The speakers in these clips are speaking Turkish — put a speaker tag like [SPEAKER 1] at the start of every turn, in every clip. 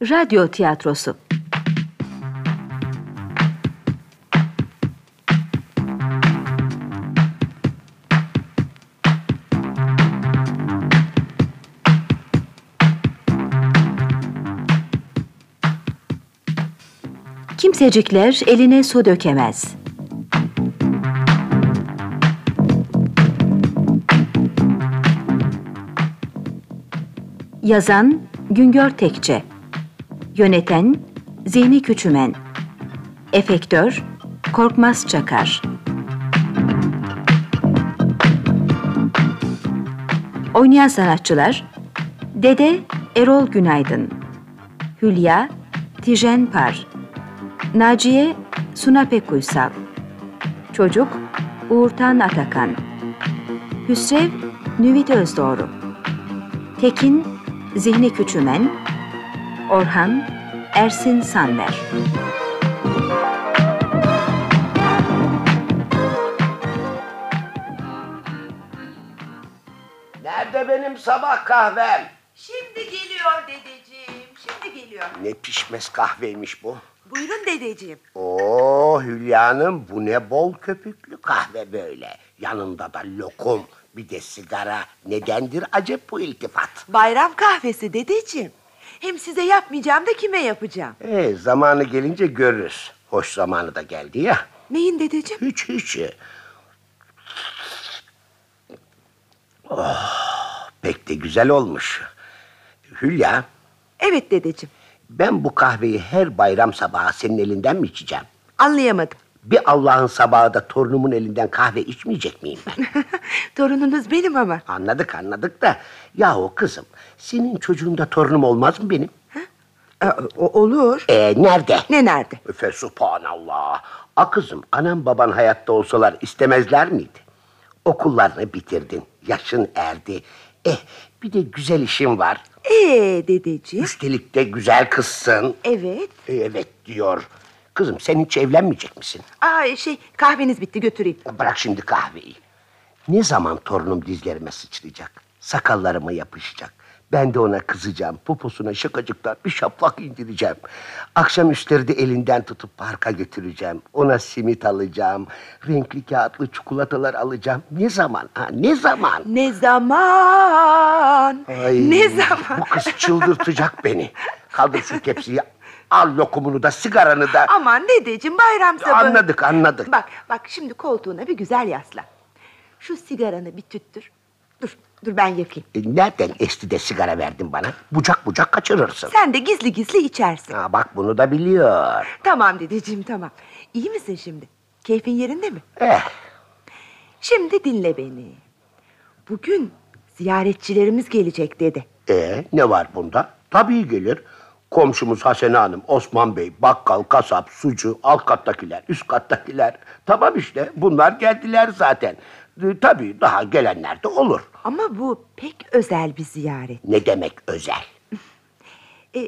[SPEAKER 1] Radyo tiyatrosu. Kimsecikler eline su dökemez. Yazan Güngör Tekçe Yöneten Zihni Küçümen Efektör Korkmaz Çakar Oynayan sanatçılar Dede Erol Günaydın Hülya Tijen Par Naciye Sunape Kuysal Çocuk Uğurtan Atakan Hüsrev Nüvit Özdoğru Tekin Zihni Küçümen Orhan Ersin Sanver
[SPEAKER 2] Nerede benim sabah kahvem?
[SPEAKER 3] Şimdi geliyor dedeciğim, şimdi geliyor.
[SPEAKER 2] Ne pişmez kahveymiş bu.
[SPEAKER 3] Buyurun dedeciğim.
[SPEAKER 2] Oo Hülya'nın bu ne bol köpüklü kahve böyle. Yanında da lokum bir de sigara. Nedendir acep bu iltifat?
[SPEAKER 3] Bayram kahvesi dedeciğim. Hem size yapmayacağım da kime yapacağım?
[SPEAKER 2] Ee, zamanı gelince görürüz. Hoş zamanı da geldi ya.
[SPEAKER 3] Neyin dedeciğim?
[SPEAKER 2] Hiç hiç. Oh, pek de güzel olmuş. Hülya
[SPEAKER 3] Evet dedeciğim.
[SPEAKER 2] ben bu kahveyi her bayram sabahı senin elinden mi içeceğim?
[SPEAKER 3] Anlayamadım.
[SPEAKER 2] Bir Allah'ın sabahı da torunumun elinden kahve içmeyecek miyim ben?
[SPEAKER 3] Torununuz benim ama.
[SPEAKER 2] anladık anladık da. Yahu kızım senin çocuğun da torunum olmaz mı benim?
[SPEAKER 3] Ee, o- olur.
[SPEAKER 2] Ee, nerede?
[SPEAKER 3] Ne nerede?
[SPEAKER 2] Efe subhanallah. A kızım anam baban hayatta olsalar istemezler miydi? Okullarını bitirdin. Yaşın erdi. Eh bir de güzel işin var.
[SPEAKER 3] Ee dedeciğim.
[SPEAKER 2] Üstelik de güzel kızsın.
[SPEAKER 3] Evet.
[SPEAKER 2] Ee, Evet diyor. Kızım sen hiç evlenmeyecek misin?
[SPEAKER 3] Aa şey kahveniz bitti götüreyim.
[SPEAKER 2] Bırak şimdi kahveyi. Ne zaman torunum dizlerime sıçrayacak? Sakallarıma yapışacak. Ben de ona kızacağım. Poposuna şakacıktan bir şaplak indireceğim. Akşam üstleri de elinden tutup parka götüreceğim. Ona simit alacağım. Renkli kağıtlı çikolatalar alacağım. Ne zaman? Ha, ne zaman?
[SPEAKER 3] Ne zaman?
[SPEAKER 2] Ay,
[SPEAKER 3] Ne zaman?
[SPEAKER 2] Bu kız çıldırtacak beni. Kaldır şu tepsiyi. Al lokumunu da sigaranı da.
[SPEAKER 3] Aman dedeciğim bayram sabahı.
[SPEAKER 2] Anladık anladık.
[SPEAKER 3] Bak bak şimdi koltuğuna bir güzel yaslan. Şu sigaranı bir tüttür. Dur dur ben yakayım.
[SPEAKER 2] E, Nereden esti de sigara verdin bana? Bucak bucak kaçırırsın.
[SPEAKER 3] Sen de gizli gizli içersin.
[SPEAKER 2] Ha, bak bunu da biliyor.
[SPEAKER 3] Tamam dedeciğim tamam. İyi misin şimdi? Keyfin yerinde mi?
[SPEAKER 2] Eh,
[SPEAKER 3] Şimdi dinle beni. Bugün ziyaretçilerimiz gelecek dedi.
[SPEAKER 2] e, ne var bunda? Tabii gelir. Komşumuz Hasene Hanım, Osman Bey, bakkal, kasap, sucu, alt kattakiler, üst kattakiler. Tamam işte bunlar geldiler zaten. E, tabii daha gelenler de olur.
[SPEAKER 3] Ama bu pek özel bir ziyaret.
[SPEAKER 2] Ne demek özel?
[SPEAKER 3] E,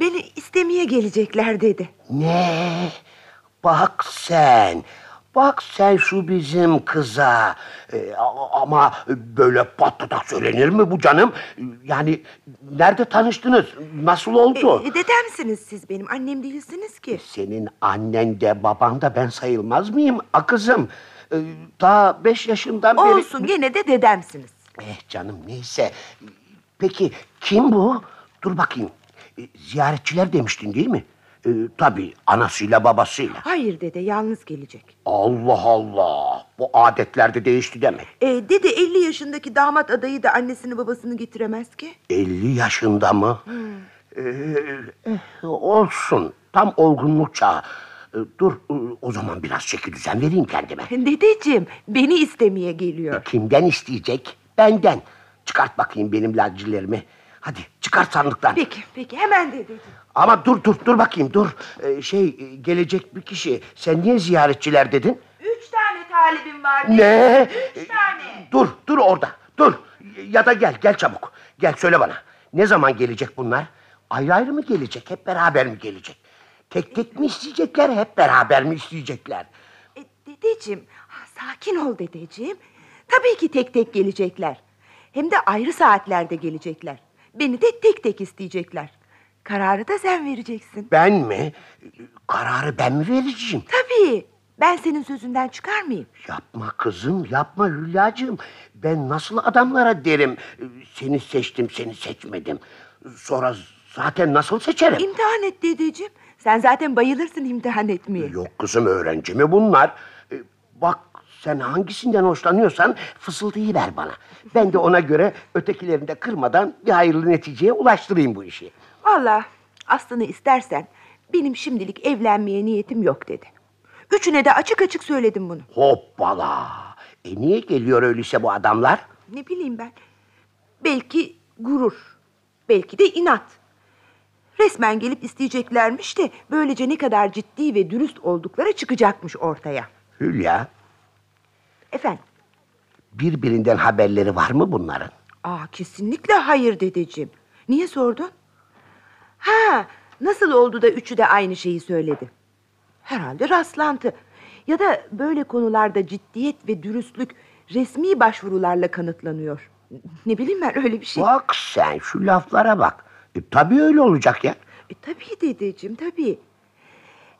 [SPEAKER 3] beni istemeye gelecekler dedi.
[SPEAKER 2] Ne? Bak sen. Bak sen şu bizim kıza. E, a- ama böyle patlatak söylenir mi bu canım? E, Yani nerede tanıştınız? Nasıl
[SPEAKER 3] E,
[SPEAKER 2] oldu?
[SPEAKER 3] e, dedemsiniz siz benim annem değilsiniz ki.
[SPEAKER 2] Senin annen de baban da ben sayılmaz mıyım? A kızım. Ee, Daha beş yaşından beri...
[SPEAKER 3] Olsun gene de dedemsiniz.
[SPEAKER 2] Eh canım neyse. Peki kim bu? Dur bakayım. Ee, Ziyaretçiler demiştin değil mi? Ee, tabii anasıyla babasıyla.
[SPEAKER 3] Hayır dede yalnız gelecek.
[SPEAKER 2] Allah Allah. Bu adetlerde değişti demek.
[SPEAKER 3] E, dede 50 yaşındaki damat adayı da annesini babasını getiremez ki.
[SPEAKER 2] 50 yaşında mı? Ee, eh, olsun. Tam olgunluk çağı. Ee, Dur e, o zaman biraz şekil düzen vereyim kendime.
[SPEAKER 3] Dedeciğim beni istemeye geliyor.
[SPEAKER 2] Kimden isteyecek? Benden. Çıkart bakayım benim lacilerimi. Hadi çıkart sandıktan.
[SPEAKER 3] Peki peki hemen dedeciğim.
[SPEAKER 2] Ama dur dur dur bakayım dur. Ee, şey e, gelecek bir kişi. Sen niye ziyaretçiler dedin?
[SPEAKER 3] Üç tane talibim var.
[SPEAKER 2] Ne? Ee,
[SPEAKER 3] Üç tane.
[SPEAKER 2] Dur dur orada dur. Ya da gel gel çabuk. Gel söyle bana. Ne zaman gelecek bunlar? Ayrı ayrı mı gelecek? Hep beraber mi gelecek? Tek tek mi isteyecekler? Hep beraber mi isteyecekler?
[SPEAKER 3] E, dedeciğim, ha, sakin ol dedeciğim. Tabii ki tek tek gelecekler. Hem de ayrı saatlerde gelecekler. Beni de tek tek isteyecekler. Kararı da sen vereceksin.
[SPEAKER 2] Ben mi? Kararı ben mi vereceğim?
[SPEAKER 3] Tabii. Ben senin sözünden çıkar mıyım?
[SPEAKER 2] Yapma kızım, yapma Hülya'cığım. Ben nasıl adamlara derim, seni seçtim, seni seçmedim. Sonra zaten nasıl seçerim?
[SPEAKER 3] İmtihan et dedeciğim. Sen zaten bayılırsın imtihan etmeye.
[SPEAKER 2] Yok kızım, öğrenci mi bunlar? E, Bak sen hangisinden hoşlanıyorsan fısıldayı ver bana. Ben de ona göre ötekilerini de kırmadan bir hayırlı neticeye ulaştırayım bu işi.
[SPEAKER 3] Valla aslını istersen benim şimdilik evlenmeye niyetim yok dedi. Üçüne de açık açık söyledim bunu.
[SPEAKER 2] Hoppala. E niye geliyor öyleyse bu adamlar?
[SPEAKER 3] Ne bileyim ben. Belki gurur. Belki de inat. Resmen gelip isteyeceklermiş de böylece ne kadar ciddi ve dürüst oldukları çıkacakmış ortaya.
[SPEAKER 2] Hülya,
[SPEAKER 3] Efendim?
[SPEAKER 2] birbirinden haberleri var mı bunların?
[SPEAKER 3] Aa kesinlikle hayır dedeciğim. Niye sordun? Ha nasıl oldu da üçü de aynı şeyi söyledi? Herhalde rastlantı. Ya da böyle konularda ciddiyet ve dürüstlük resmi başvurularla kanıtlanıyor. Ne bileyim ben öyle bir şey.
[SPEAKER 2] Bak sen şu laflara bak. E, tabii öyle olacak ya.
[SPEAKER 3] E, tabii dedeciğim tabii.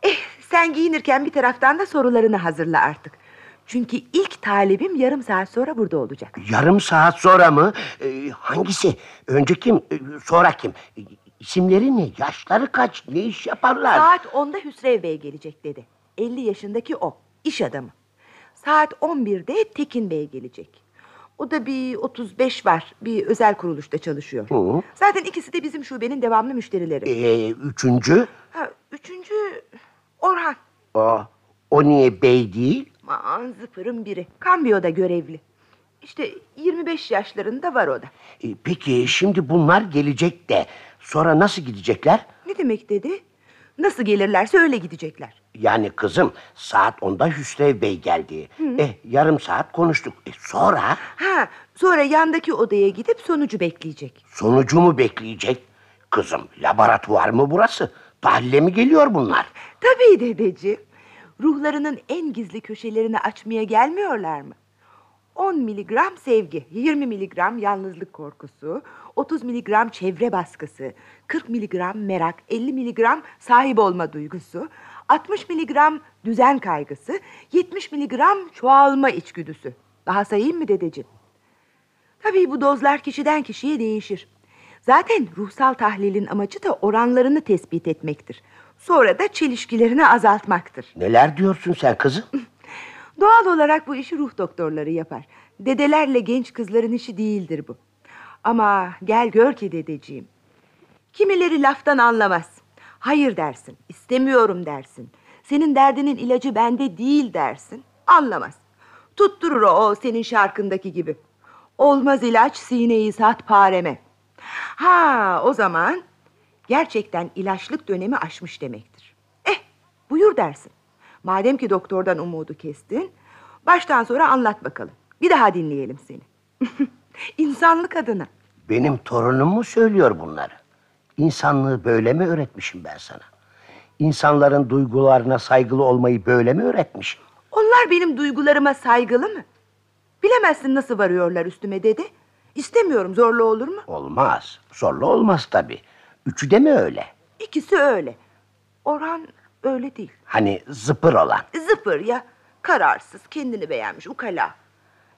[SPEAKER 3] Eh, sen giyinirken bir taraftan da sorularını hazırla artık. Çünkü ilk talebim yarım saat sonra burada olacak.
[SPEAKER 2] Yarım saat sonra mı? E, hangisi? Önce kim? E, sonra kim? E, isimleri ne? Yaşları kaç? Ne iş yaparlar?
[SPEAKER 3] Saat 10'da Hüsrev Bey gelecek dedi. 50 yaşındaki o, iş adamı. Saat 11'de Tekin Bey gelecek. O da bir 35 var, bir özel kuruluşta çalışıyor.
[SPEAKER 2] Hı.
[SPEAKER 3] Zaten ikisi de bizim şubenin devamlı müşterileri.
[SPEAKER 2] E, üçüncü?
[SPEAKER 3] Ha, üçüncü Orhan.
[SPEAKER 2] O, o niye bey değil?
[SPEAKER 3] Aman zıpırın biri. Kambiyo'da görevli. İşte 25 yaşlarında var o da.
[SPEAKER 2] E, peki şimdi bunlar gelecek de sonra nasıl gidecekler?
[SPEAKER 3] Ne demek dedi? Nasıl gelirlerse öyle gidecekler.
[SPEAKER 2] Yani kızım saat 10'da Hüsrev Bey geldi. Eh, yarım saat konuştuk. E, sonra
[SPEAKER 3] Ha, sonra yandaki odaya gidip sonucu bekleyecek.
[SPEAKER 2] sonucu mu bekleyecek? Kızım laboratuvar mı burası? Tahlile mi geliyor bunlar?
[SPEAKER 3] Tabii dedeciğim. Ruhlarının en gizli köşelerini açmaya gelmiyorlar mı? 10 miligram sevgi, 20 miligram yalnızlık korkusu, 30 miligram çevre baskısı, 40 miligram merak, 50 miligram sahip olma duygusu, 60 miligram düzen kaygısı, 70 miligram çoğalma içgüdüsü. Daha sayayım mı dedeciğim? Tabii bu dozlar kişiden kişiye değişir. Zaten ruhsal tahlilin amacı da oranlarını tespit etmektir. Sonra da çelişkilerini azaltmaktır.
[SPEAKER 2] Neler diyorsun sen kızım?
[SPEAKER 3] Doğal olarak bu işi ruh doktorları yapar. Dedelerle genç kızların işi değildir bu. Ama gel gör ki dedeciğim. Kimileri laftan anlamaz. Hayır dersin, istemiyorum dersin. Senin derdinin ilacı bende değil dersin. Anlamaz. Tutturur o, o senin şarkındaki gibi. Olmaz ilaç sineyi sat pareme. Ha o zaman gerçekten ilaçlık dönemi aşmış demektir. Eh buyur dersin. Madem ki doktordan umudu kestin, baştan sonra anlat bakalım. Bir daha dinleyelim seni. İnsanlık adına.
[SPEAKER 2] Benim torunum mu söylüyor bunları? İnsanlığı böyle mi öğretmişim ben sana? İnsanların duygularına saygılı olmayı böyle mi öğretmişim?
[SPEAKER 3] Onlar benim duygularıma saygılı mı? Bilemezsin nasıl varıyorlar üstüme dedi. İstemiyorum zorla olur mu?
[SPEAKER 2] Olmaz. Zorla olmaz tabii. Üçü de mi öyle?
[SPEAKER 3] İkisi öyle. Orhan öyle değil.
[SPEAKER 2] Hani zıpır olan.
[SPEAKER 3] Zıpır ya. Kararsız, kendini beğenmiş, ukala.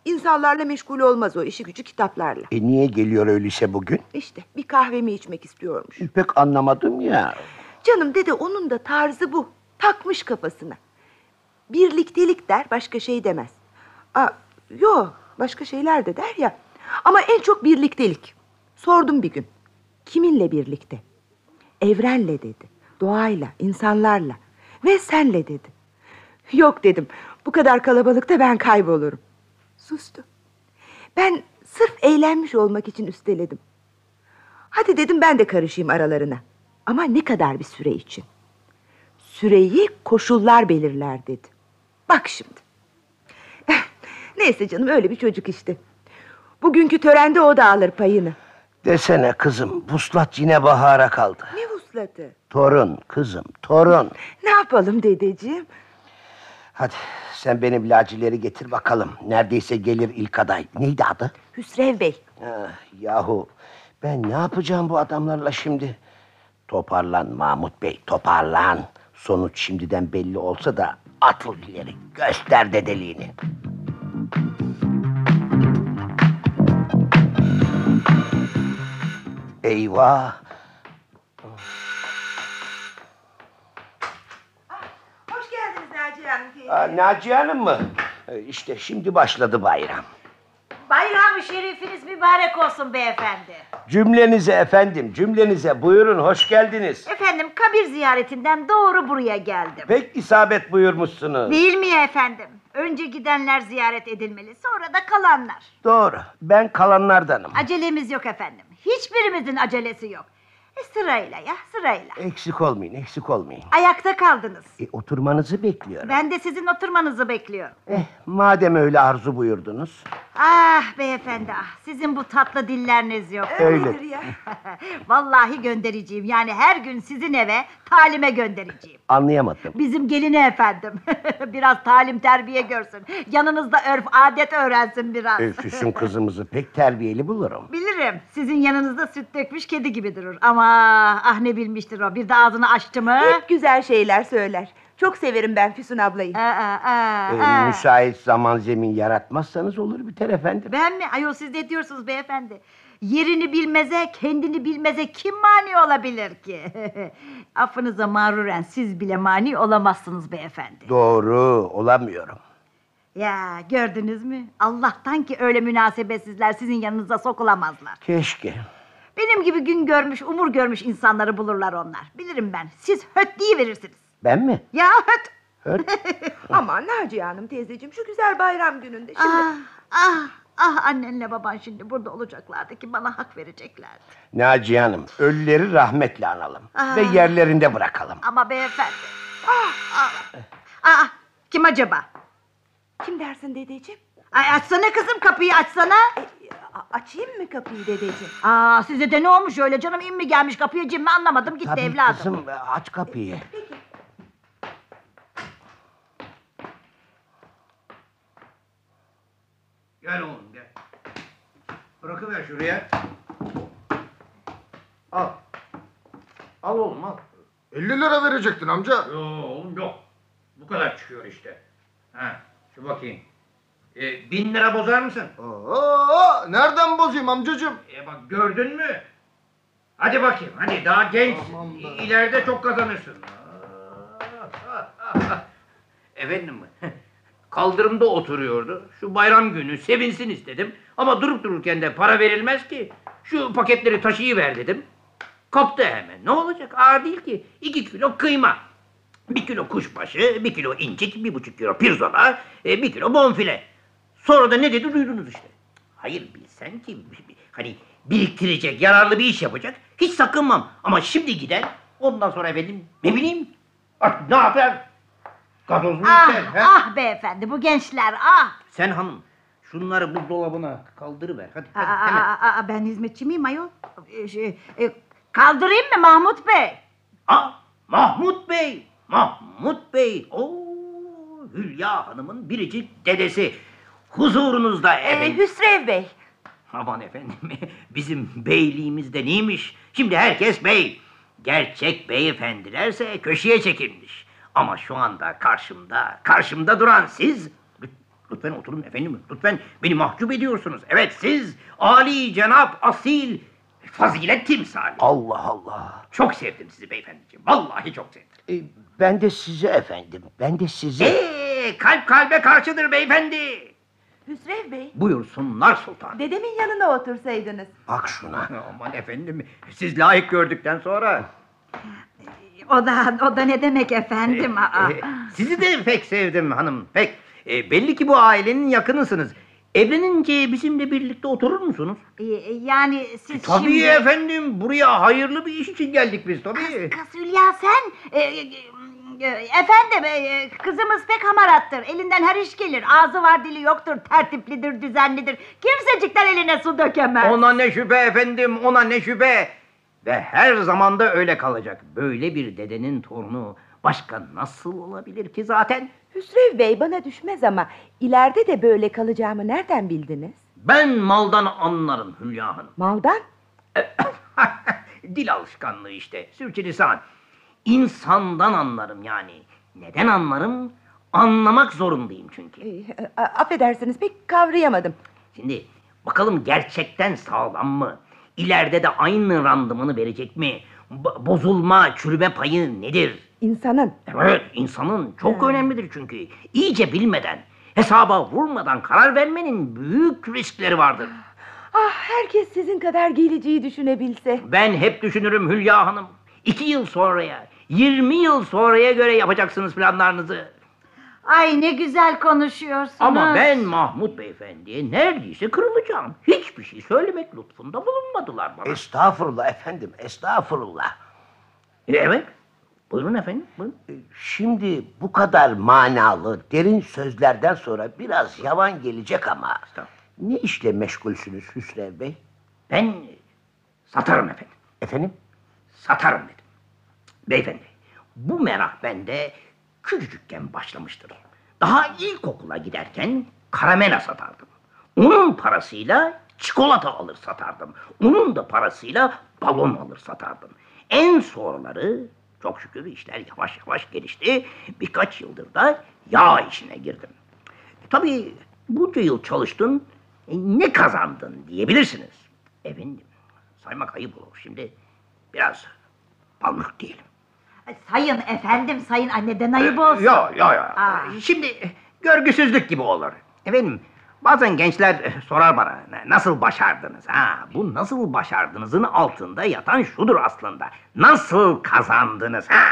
[SPEAKER 3] İnsanlarla meşgul olmaz o işi gücü kitaplarla.
[SPEAKER 2] E niye geliyor öyleyse bugün?
[SPEAKER 3] İşte bir kahvemi içmek istiyormuş.
[SPEAKER 2] E, Pek anlamadım ya.
[SPEAKER 3] Canım dede onun da tarzı bu. Takmış kafasına. Birliktelik der başka şey demez. Aa, yo başka şeyler de der ya. Ama en çok birliktelik. Sordum bir gün. Kiminle birlikte? Evrenle dedi. Doğayla, insanlarla ve senle dedi. Yok dedim. Bu kadar kalabalıkta ben kaybolurum. Sustu. Ben sırf eğlenmiş olmak için üsteledim. Hadi dedim ben de karışayım aralarına. Ama ne kadar bir süre için? Süreyi koşullar belirler dedi. Bak şimdi. Eh, Neyse canım öyle bir çocuk işte. Bugünkü törende o da alır payını.
[SPEAKER 2] Desene kızım, puslat yine bahara kaldı.
[SPEAKER 3] Ne vuslatı?
[SPEAKER 2] Torun kızım, torun.
[SPEAKER 3] Ne yapalım dedeciğim?
[SPEAKER 2] Hadi sen benim lacileri getir bakalım. Neredeyse gelir ilk aday. Neydi adı?
[SPEAKER 3] Hüsrev Bey.
[SPEAKER 2] Ah, yahu ben ne yapacağım bu adamlarla şimdi? Toparlan Mahmut Bey, toparlan. Sonuç şimdiden belli olsa da atıl ileri, göster dedeliğini. Eyvah!
[SPEAKER 3] Hoş geldiniz Naciye Hanım teyze.
[SPEAKER 2] Aa, Naciye Hanım mı? Ee, İşte şimdi başladı bayram.
[SPEAKER 4] Bayram-ı şerifiniz mübarek olsun beyefendi.
[SPEAKER 2] Cümlenize efendim, cümlenize buyurun, hoş geldiniz.
[SPEAKER 4] Efendim kabir ziyaretinden doğru buraya geldim.
[SPEAKER 2] Pek isabet buyurmuşsunuz.
[SPEAKER 4] Değil mi efendim? Önce gidenler ziyaret edilmeli, sonra da kalanlar.
[SPEAKER 2] Doğru, ben kalanlardanım.
[SPEAKER 4] Acelemiz yok efendim. Hiçbirimizin acelesi yok. E, sırayla ya, sırayla.
[SPEAKER 2] Eksik olmayın, eksik olmayın.
[SPEAKER 4] Ayakta kaldınız.
[SPEAKER 2] E, oturmanızı bekliyorum.
[SPEAKER 4] Ben de sizin oturmanızı bekliyorum.
[SPEAKER 2] Eh, madem öyle arzu buyurdunuz.
[SPEAKER 4] Ah beyefendi ah, sizin bu tatlı dilleriniz yok.
[SPEAKER 3] Öyledir
[SPEAKER 2] öyle.
[SPEAKER 3] ya.
[SPEAKER 4] Vallahi göndereceğim. Yani her gün sizin eve talime göndereceğim.
[SPEAKER 2] Anlayamadım.
[SPEAKER 4] Bizim gelini efendim. biraz talim terbiye görsün. Yanınızda örf adet öğrensin biraz.
[SPEAKER 2] Öfüs'ün kızımızı pek terbiyeli bulurum.
[SPEAKER 4] Bilirim sizin yanınızda süt dökmüş kedi gibi durur. Ama ah ne bilmiştir o. Bir de ağzını açtı mı?
[SPEAKER 3] Hep güzel şeyler söyler. Çok severim ben Füsun ablayı.
[SPEAKER 4] Aa, aa, aa,
[SPEAKER 2] Ee,
[SPEAKER 4] aa.
[SPEAKER 2] müsait zaman zemin yaratmazsanız olur biter efendim.
[SPEAKER 4] Ben mi? Ayol siz ne diyorsunuz beyefendi? Yerini bilmeze, kendini bilmeze kim mani olabilir ki? Affınıza mağruren siz bile mani olamazsınız beyefendi.
[SPEAKER 2] Doğru, olamıyorum.
[SPEAKER 4] Ya gördünüz mü? Allah'tan ki öyle münasebetsizler sizin yanınıza sokulamazlar.
[SPEAKER 2] Keşke.
[SPEAKER 4] Benim gibi gün görmüş, umur görmüş insanları bulurlar onlar. Bilirim ben. Siz höt diye verirsiniz.
[SPEAKER 2] Ben mi?
[SPEAKER 4] Ya höt.
[SPEAKER 3] Aman Naciye Hanım teyzeciğim şu güzel bayram gününde. Şimdi
[SPEAKER 4] Ah, ah, ah annenle baban şimdi burada olacaklardı ki bana hak vereceklerdi.
[SPEAKER 2] Naciye Hanım, ölüleri rahmetle analım.
[SPEAKER 4] Aa.
[SPEAKER 2] Ve yerlerinde bırakalım.
[SPEAKER 4] Ama beyefendi. Ah, ah, ah, kim acaba?
[SPEAKER 3] kim dersin dedeciğim? E,
[SPEAKER 4] Ay açsana kızım kapıyı açsana.
[SPEAKER 3] A- açayım mı kapıyı dedeciğim?
[SPEAKER 4] Aa size de ne olmuş öyle canım in mi gelmiş kapıya cin mi anlamadım gitti
[SPEAKER 2] Tabii
[SPEAKER 4] evladım.
[SPEAKER 2] kızım, aç kapıyı.
[SPEAKER 5] Gel oğlum gel. Bırakıver şuraya. Al. Al oğlum al.
[SPEAKER 6] 50 lira verecektin amca.
[SPEAKER 5] Yo oğlum yok. Bu kadar çıkıyor işte. Ha, şu bakayım. E, bin lira bozar mısın?
[SPEAKER 6] Oo, nereden bozayım amcacığım?
[SPEAKER 5] E bak gördün mü? Hadi bakayım hadi daha genç.
[SPEAKER 6] Aman be.
[SPEAKER 5] ileride çok kazanırsın. Efendim kaldırımda oturuyordu. Şu bayram günü sevinsin istedim. Ama durup dururken de para verilmez ki. Şu paketleri taşıyıver dedim. Koptu hemen. Ne olacak? Ağır değil ki. İki kilo kıyma. Bir kilo kuşbaşı, bir kilo incik, bir buçuk kilo pirzola, e, bir kilo bonfile. Sonra da ne dedi duydunuz işte. Hayır bilsen ki bi- bi- hani biriktirecek, yararlı bir iş yapacak. Hiç sakınmam. Ama şimdi gider, ondan sonra efendim ne bileyim artık ne yapar? Gazoz mu
[SPEAKER 4] Ah,
[SPEAKER 5] içer? he?
[SPEAKER 4] ah beyefendi bu gençler ah.
[SPEAKER 5] Sen hanım şunları buzdolabına kaldırıver. Hadi,
[SPEAKER 4] Aa,
[SPEAKER 5] hadi hemen.
[SPEAKER 4] aa, aa, ben hizmetçi miyim ayol? Ee, şey, e, kaldırayım mı Mahmut Bey?
[SPEAKER 5] Ah, Mahmut Bey, Mahmut Bey. Oo, Hülya Hanım'ın biricik dedesi. Huzurunuzda
[SPEAKER 3] Ee,
[SPEAKER 4] E,
[SPEAKER 5] efendim.
[SPEAKER 3] Hüsrev Bey.
[SPEAKER 5] Aman efendim, bizim beyliğimizde neymiş? Şimdi herkes bey. Gerçek beyefendilerse köşeye çekilmiş. Ama şu anda karşımda, karşımda duran siz... Lüt- Lütfen oturun efendim, lütfen beni mahcup ediyorsunuz. Evet siz, Ali Cenap Asil Fazilet Timsali.
[SPEAKER 2] Allah Allah.
[SPEAKER 5] Çok sevdim sizi beyefendiciğim, vallahi çok sevdim.
[SPEAKER 2] E, ben de sizi efendim, ben de sizi.
[SPEAKER 5] Ee? Eee, kalp kalbe karşıdır beyefendi.
[SPEAKER 3] Hüsrev Bey.
[SPEAKER 5] Buyursunlar sultan.
[SPEAKER 3] Dedemin yanına otursaydınız.
[SPEAKER 2] Bak şuna.
[SPEAKER 5] Aman efendim, siz layık gördükten sonra...
[SPEAKER 4] O da o da ne demek efendim? Aa.
[SPEAKER 5] Ee, sizi de pek sevdim hanım, pek. Ee, belli ki bu ailenin yakınısınız. Evlenince bizimle birlikte oturur musunuz?
[SPEAKER 4] Ee, yani siz
[SPEAKER 5] e, Tabii
[SPEAKER 4] şimdi...
[SPEAKER 5] efendim, buraya hayırlı bir iş için geldik biz tabii.
[SPEAKER 4] Kız Hülya sen... e, e, e, efendim e, e, kızımız pek hamarattır. Elinden her iş gelir. Ağzı var dili yoktur. Tertiplidir, düzenlidir. Kimsecikler eline su dökemez.
[SPEAKER 5] Ona ne şüphe efendim, ona ne şüphe. Ve her zaman da öyle kalacak. Böyle bir dedenin torunu başka nasıl olabilir ki zaten?
[SPEAKER 3] Hüsrev Bey bana düşmez ama ileride de böyle kalacağımı nereden bildiniz?
[SPEAKER 5] Ben maldan anlarım Hülya Hanım.
[SPEAKER 3] Maldan?
[SPEAKER 5] Dil alışkanlığı işte. Sürçülisan. İnsandan anlarım yani. Neden anlarım? Anlamak zorundayım çünkü.
[SPEAKER 3] Ee, a- affedersiniz pek kavrayamadım.
[SPEAKER 5] Şimdi bakalım gerçekten sağlam mı? İleride de aynı randımanı verecek mi? Bo- bozulma, çürüme payı nedir?
[SPEAKER 3] İnsanın
[SPEAKER 5] Evet, insanın çok önemlidir çünkü. İyice bilmeden, hesaba vurmadan karar vermenin büyük riskleri vardır.
[SPEAKER 3] Ah herkes sizin kadar geleceği düşünebilse.
[SPEAKER 5] Ben hep düşünürüm Hülya Hanım. İki yıl sonraya, 20 yıl sonraya göre yapacaksınız planlarınızı.
[SPEAKER 4] Ay ne güzel konuşuyorsunuz.
[SPEAKER 5] Ama ben Mahmut Beyefendi'ye neredeyse kırılacağım. Hiçbir şey söylemek lütfunda bulunmadılar bana.
[SPEAKER 2] Estağfurullah efendim, estağfurullah.
[SPEAKER 5] Evet. Buyurun efendim. Buyurun.
[SPEAKER 2] E, Şimdi bu kadar manalı, derin sözlerden sonra biraz yavan gelecek ama...
[SPEAKER 5] Estağfurullah.
[SPEAKER 2] Ne işle meşgulsünüz Hüsrev Bey?
[SPEAKER 5] Ben satarım efendim.
[SPEAKER 2] Efendim?
[SPEAKER 5] Satarım dedim. Beyefendi bu merak bende küçücükken başlamıştır. Daha ilkokula giderken karamela satardım. Onun parasıyla çikolata alır satardım. Onun da parasıyla balon alır satardım. En sonraları çok şükür işler yavaş yavaş gelişti. Birkaç yıldır da yağ işine girdim. E, Tabii bunca yıl çalıştın, e, ne kazandın diyebilirsiniz. Efendim, saymak ayıp olur şimdi. Biraz palmuk diyelim.
[SPEAKER 4] Ay, Sayın efendim, sayın anneden ayıp olsun.
[SPEAKER 5] Ya ya ya.
[SPEAKER 4] Aa.
[SPEAKER 5] Şimdi e, görgüsüzlük gibi olur. Efendim, bazen gençler e, sorar bana, "Na- nasıl başardınız? Ha, bu nasıl başardınızın altında yatan şudur aslında. Nasıl kazandınız? Ha,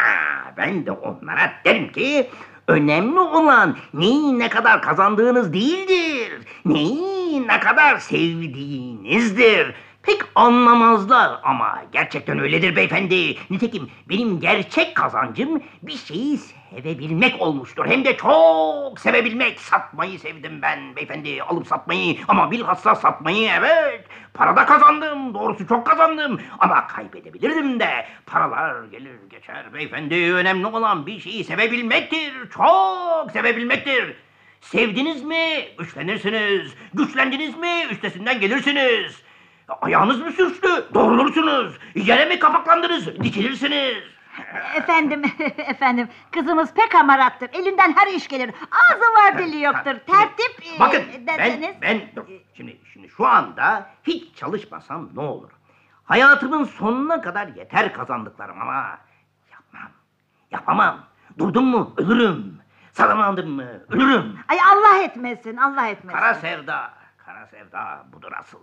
[SPEAKER 5] ben de onlara derim ki, önemli olan neyi ne kadar kazandığınız değildir. Neyi ne kadar sevdiğinizdir. Pek anlamazlar ama gerçekten öyledir beyefendi. Nitekim benim gerçek kazancım bir şeyi sevebilmek olmuştur. Hem de çok sevebilmek. Satmayı sevdim ben beyefendi. Alıp satmayı ama bilhassa satmayı evet. Parada kazandım. Doğrusu çok kazandım. Ama kaybedebilirdim de. Paralar gelir geçer beyefendi. Önemli olan bir şeyi sevebilmektir. Çok sevebilmektir. Sevdiniz mi? Güçlenirsiniz. Güçlendiniz mi? Üstesinden gelirsiniz. Ayağınız mı sürçtü? Doğrulursunuz. Yere mi kapaklandınız? Dikilirsiniz.
[SPEAKER 4] Efendim, efendim, kızımız pek hamarattır. Elinden her iş gelir. Ağzı var dili yoktur.
[SPEAKER 5] Ha, şimdi
[SPEAKER 4] Tertip e,
[SPEAKER 5] Bakın ben,
[SPEAKER 4] derseniz-
[SPEAKER 5] ben dur, şimdi, şimdi şu anda hiç çalışmasam ne olur? Hayatımın sonuna kadar yeter kazandıklarım ama yapmam. Yapamam. Durdum mu ölürüm. Sadalandım mı ölürüm.
[SPEAKER 4] Ay Allah etmesin, Allah etmesin.
[SPEAKER 5] Kara sevda, kara sevda budur asıl.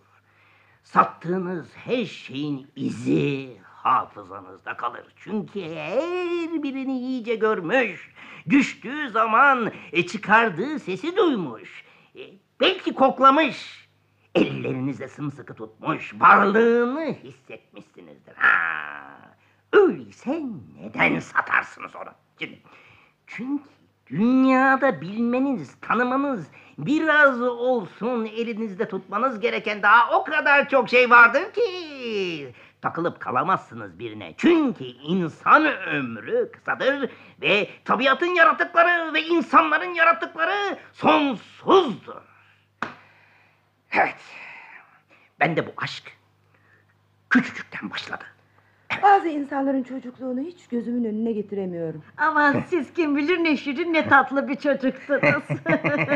[SPEAKER 5] Sattığınız her şeyin izi hafızanızda kalır. Çünkü her birini iyice görmüş. Düştüğü zaman e, çıkardığı sesi duymuş. E, belki koklamış. Ellerinizle sımsıkı tutmuş. Varlığını hissetmişsinizdir. Ha. Öyleyse neden satarsınız onu? Şimdi, çünkü dünyada bilmeniz, tanımanız, biraz olsun elinizde tutmanız gereken daha o kadar çok şey vardır ki takılıp kalamazsınız birine. Çünkü insan ömrü kısadır ve tabiatın yarattıkları ve insanların yarattıkları sonsuzdur. Evet. Ben de bu aşk küçücükten başladı.
[SPEAKER 3] Bazı insanların çocukluğunu hiç gözümün önüne getiremiyorum.
[SPEAKER 4] Ama siz kim bilir ne şirin ne tatlı bir çocuksunuz.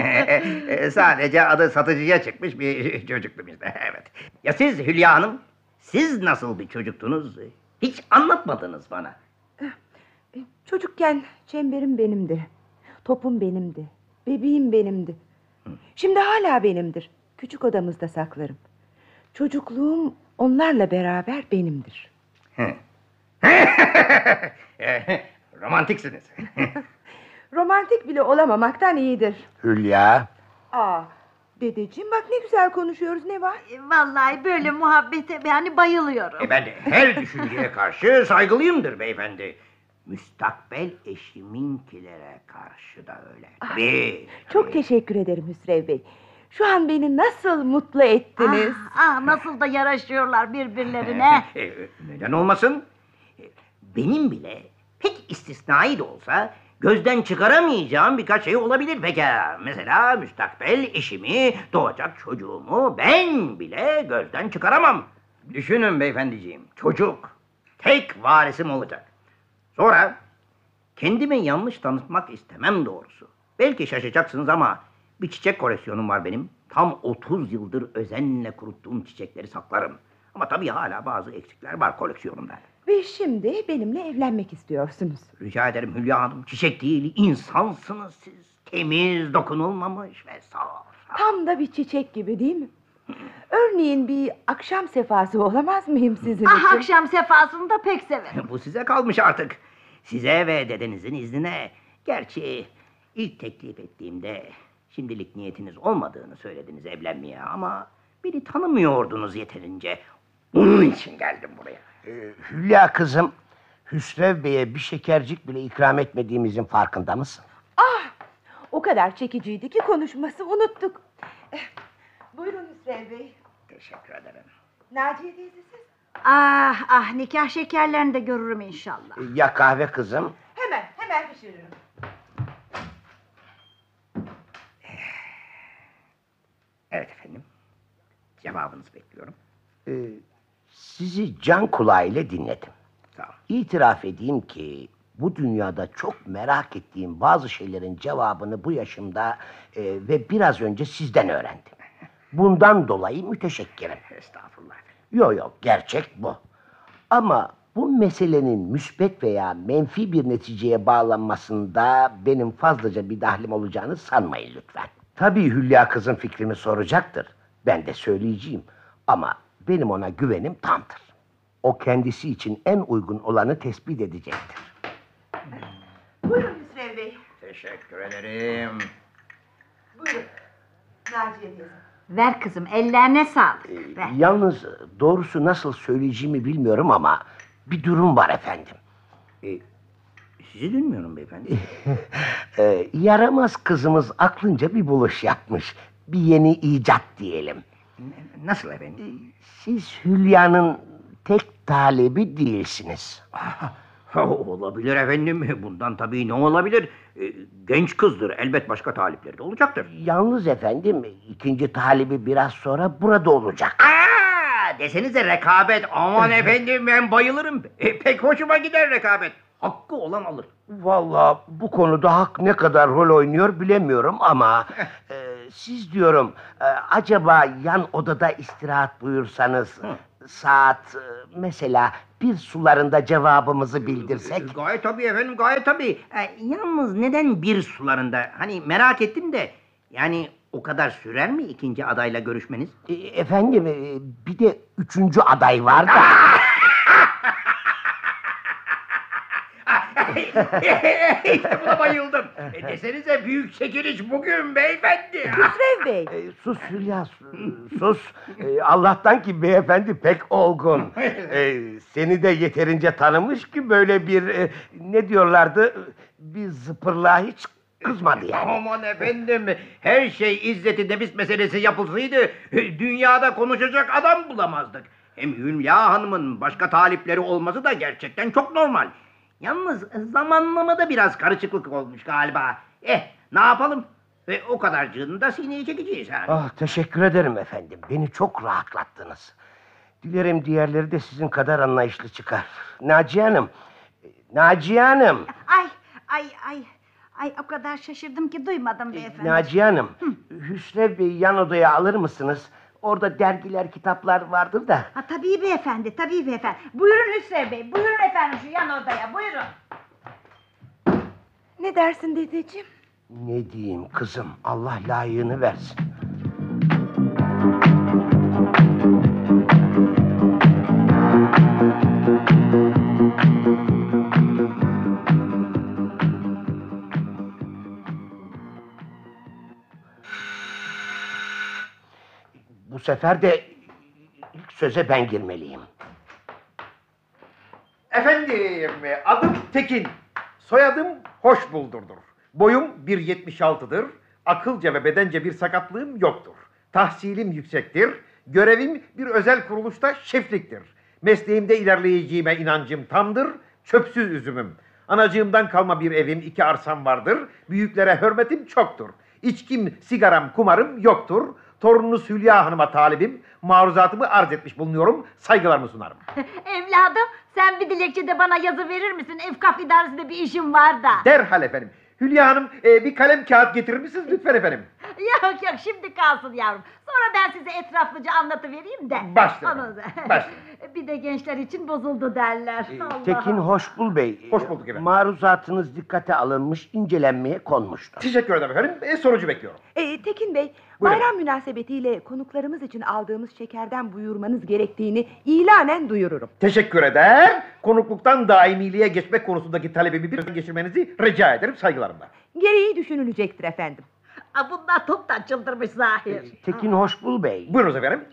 [SPEAKER 5] Ee, Sadece adı satıcıya çıkmış bir çocuktum işte. Evet. Ya siz Hülya Hanım, siz nasıl bir çocuktunuz? Hiç anlatmadınız bana.
[SPEAKER 3] Çocukken çemberim benimdi. Topum benimdi. Bebeğim benimdi. Şimdi hala benimdir. Küçük odamızda saklarım. Çocukluğum onlarla beraber benimdir.
[SPEAKER 5] Romantiksiniz.
[SPEAKER 3] Romantik bile olamamaktan iyidir.
[SPEAKER 2] Hülya.
[SPEAKER 3] Aa, dedeciğim bak ne güzel konuşuyoruz ne var?
[SPEAKER 4] E, Vallahi böyle muhabbete yani bayılıyorum.
[SPEAKER 5] E ben de her düşünceye karşı saygılıyımdır beyefendi. Müstakbel eşiminkilere karşı da öyle. Tabii.
[SPEAKER 3] Çok teşekkür ederim Hüsrev Bey. Şu an beni nasıl mutlu ettiniz.
[SPEAKER 4] Ah, ah, nasıl da yaraşıyorlar birbirlerine.
[SPEAKER 5] E, e, Neden olmasın? E, Benim bile pek istisnai de olsa gözden çıkaramayacağım birkaç şey olabilir pekala. Mesela müstakbel eşimi, doğacak çocuğumu ben bile gözden çıkaramam. Düşünün beyefendiciğim, çocuk tek varisim olacak. Sonra kendimi yanlış tanıtmak istemem doğrusu. Belki şaşacaksınız ama bir çiçek koleksiyonum var benim. Tam 30 yıldır özenle kuruttuğum çiçekleri saklarım. Ama tabii hala bazı eksikler var koleksiyonumda.
[SPEAKER 3] Ve şimdi benimle evlenmek istiyorsunuz.
[SPEAKER 5] Rica ederim Hülya Hanım, çiçek değil insansınız siz. Temiz, dokunulmamış ve saf.
[SPEAKER 3] Tam da bir çiçek gibi değil mi? Örneğin bir akşam sefası olamaz mıyım sizin için?
[SPEAKER 4] Ah akşam sefasını da pek severim.
[SPEAKER 5] Bu size kalmış artık. Size ve dedenizin iznine. Gerçi ilk teklif ettiğimde şimdilik niyetiniz olmadığını söylediniz evlenmeye ama beni tanımıyordunuz yeterince. Bunun için geldim buraya.
[SPEAKER 2] Ee, Hülya kızım, Hüsrev Bey'e bir şekercik bile ikram etmediğimizin farkında mısın?
[SPEAKER 3] O kadar çekiciydi ki konuşması unuttuk. Eh, Buyurun Hüsrev Bey.
[SPEAKER 5] Teşekkür ederim.
[SPEAKER 3] Naciye teyze siz.
[SPEAKER 4] Ah ah nikah şekerlerini de görürüm inşallah.
[SPEAKER 2] Ee, Ya kahve kızım?
[SPEAKER 3] Hemen, hemen pişiririm.
[SPEAKER 5] Evet efendim. Cevabınızı bekliyorum.
[SPEAKER 2] Ee, sizi can kulağıyla dinledim.
[SPEAKER 5] Sağ olun.
[SPEAKER 2] İtiraf edeyim ki bu dünyada çok merak ettiğim bazı şeylerin cevabını bu yaşımda e, ve biraz önce sizden öğrendim. Bundan dolayı müteşekkirim.
[SPEAKER 5] Estağfurullah efendim.
[SPEAKER 2] Yok yok gerçek bu. Ama bu meselenin müsbet veya menfi bir neticeye bağlanmasında benim fazlaca bir dahlim olacağını sanmayın lütfen. Tabii Hülya kızın fikrimi soracaktır. Ben de söyleyeceğim. Ama benim ona güvenim tamdır. O kendisi için en uygun olanı tespit edecektir.
[SPEAKER 3] Buyurun Hüsrev Bey.
[SPEAKER 5] Teşekkür ederim.
[SPEAKER 3] Buyurun. Naciye teyze.
[SPEAKER 4] Ver kızım ellerine sağlık. Ver.
[SPEAKER 2] Ee, Yalnız doğrusu nasıl söyleyeceğimi bilmiyorum ama bir durum var efendim.
[SPEAKER 5] Sizi dinliyorum beyefendi.
[SPEAKER 2] Ee, yaramaz kızımız aklınca bir buluş yapmış. Bir yeni icat diyelim.
[SPEAKER 5] Nasıl efendim?
[SPEAKER 2] Siz Hülya'nın tek talebi değilsiniz.
[SPEAKER 5] Ha, olabilir efendim. Bundan tabii ne olabilir? Ee, Genç kızdır. Elbet başka talipleri de olacaktır.
[SPEAKER 2] Yalnız efendim ikinci talebi biraz sonra burada olacak.
[SPEAKER 5] Aa, desenize rekabet. Aman efendim ben bayılırım. E, pek hoşuma gider rekabet. Hakkı olan alır.
[SPEAKER 2] Vallahi bu konuda hak ne kadar rol oynuyor bilemiyorum ama e, siz diyorum e, acaba yan odada istirahat buyursanız saat e, mesela bir sularında cevabımızı bildirsek.
[SPEAKER 5] E, Gayet tabii efendim gayet tabii. E, yalnız neden bir sularında? Hani merak ettim de. Yani o kadar sürer mi ikinci adayla görüşmeniz?
[SPEAKER 2] E, Efendim e, bir de üçüncü aday var da.
[SPEAKER 5] işte buna bayıldım. E, desenize büyük çekiliş bugün beyefendi.
[SPEAKER 3] Hüsrev Bey.
[SPEAKER 2] E, sus Hülya su- sus. E, Allah'tan ki beyefendi pek olgun. E, seni de yeterince tanımış ki böyle bir e, ne diyorlardı bir zıpırlığa hiç kızmadı yani.
[SPEAKER 5] Aman efendim her şey izzeti nefis meselesi yapılsaydı dünyada konuşacak adam bulamazdık. Hem Hülya Hanım'ın başka talipleri olması da gerçekten çok normal. Yalnız zamanlamada biraz karışıklık olmuş galiba. Eh ne yapalım? Ve o kadarcığını da sineye çekeceğiz ha.
[SPEAKER 2] Ah teşekkür ederim efendim. Beni çok rahatlattınız. Dilerim diğerleri de sizin kadar anlayışlı çıkar. Naciye Hanım. e, Naciye Hanım.
[SPEAKER 4] Ay ay ay. Ay o kadar şaşırdım ki duymadım beyefendi.
[SPEAKER 2] Naciye Hanım, Hüsrev Bey'i yan odaya alır mısınız? Orada dergiler, kitaplar vardır da.
[SPEAKER 4] Ha, tabii beyefendi, tabii beyefendi. Buyurun Hüsrev Bey, buyurun efendim şu yan odaya, buyurun.
[SPEAKER 3] Ne dersin dedeciğim?
[SPEAKER 2] Ne diyeyim kızım, Allah layığını versin. Bu sefer de ilk söze ben girmeliyim.
[SPEAKER 7] Efendim, adım Tekin. Soyadım hoş buldurdur. Boyum 1.76'dır. Akılca ve bedence bir sakatlığım yoktur. Tahsilim yüksektir. Görevim bir özel kuruluşta şefliktir. Mesleğimde ilerleyeceğime inancım tamdır. Çöpsüz üzümüm. Anacığımdan kalma bir evim, iki arsam vardır. Büyüklere hürmetim çoktur. İçkim, sigaram, kumarım yoktur. Torununuz Hülya Hanım'a talibim. Maruzatımı arz etmiş bulunuyorum. Saygılarımı sunarım.
[SPEAKER 4] Evladım, Sen bir dilekçe de bana yazı verir misin? Efkaf idaresinde bir işim var da.
[SPEAKER 7] Derhal efendim. Hülya Hanım e, bir kalem kağıt getirir misiniz lütfen efendim?
[SPEAKER 4] Yok yok şimdi kalsın yavrum. Sonra ben size etraflıca anlatıvereyim de.
[SPEAKER 7] Başla.
[SPEAKER 4] Onu da-
[SPEAKER 7] Başla.
[SPEAKER 4] bir de gençler için bozuldu derler.
[SPEAKER 7] Ee,
[SPEAKER 4] Allah
[SPEAKER 2] Tekin Hoşbul Bey.
[SPEAKER 7] Hoş bulduk efendim.
[SPEAKER 2] Maruzatınız dikkate alınmış, incelenmeye konmuştur.
[SPEAKER 7] Teşekkür ederim efendim. E, sonucu bekliyorum.
[SPEAKER 3] Ee, Tekin Bey,
[SPEAKER 7] Buyurun.
[SPEAKER 3] bayram münasebetiyle konuklarımız için aldığımız şekerden buyurmanız gerektiğini ilanen duyururum.
[SPEAKER 7] Teşekkür eder. Konukluktan daimiliğe geçmek konusundaki talebimi bir geçirmenizi rica ederim saygılarımla.
[SPEAKER 3] Gereği düşünülecektir efendim.
[SPEAKER 4] Aa, bunlar toptan çıldırmış zahir.
[SPEAKER 2] Tekin Hoşbul Bey.
[SPEAKER 7] Buyurunuz efendim.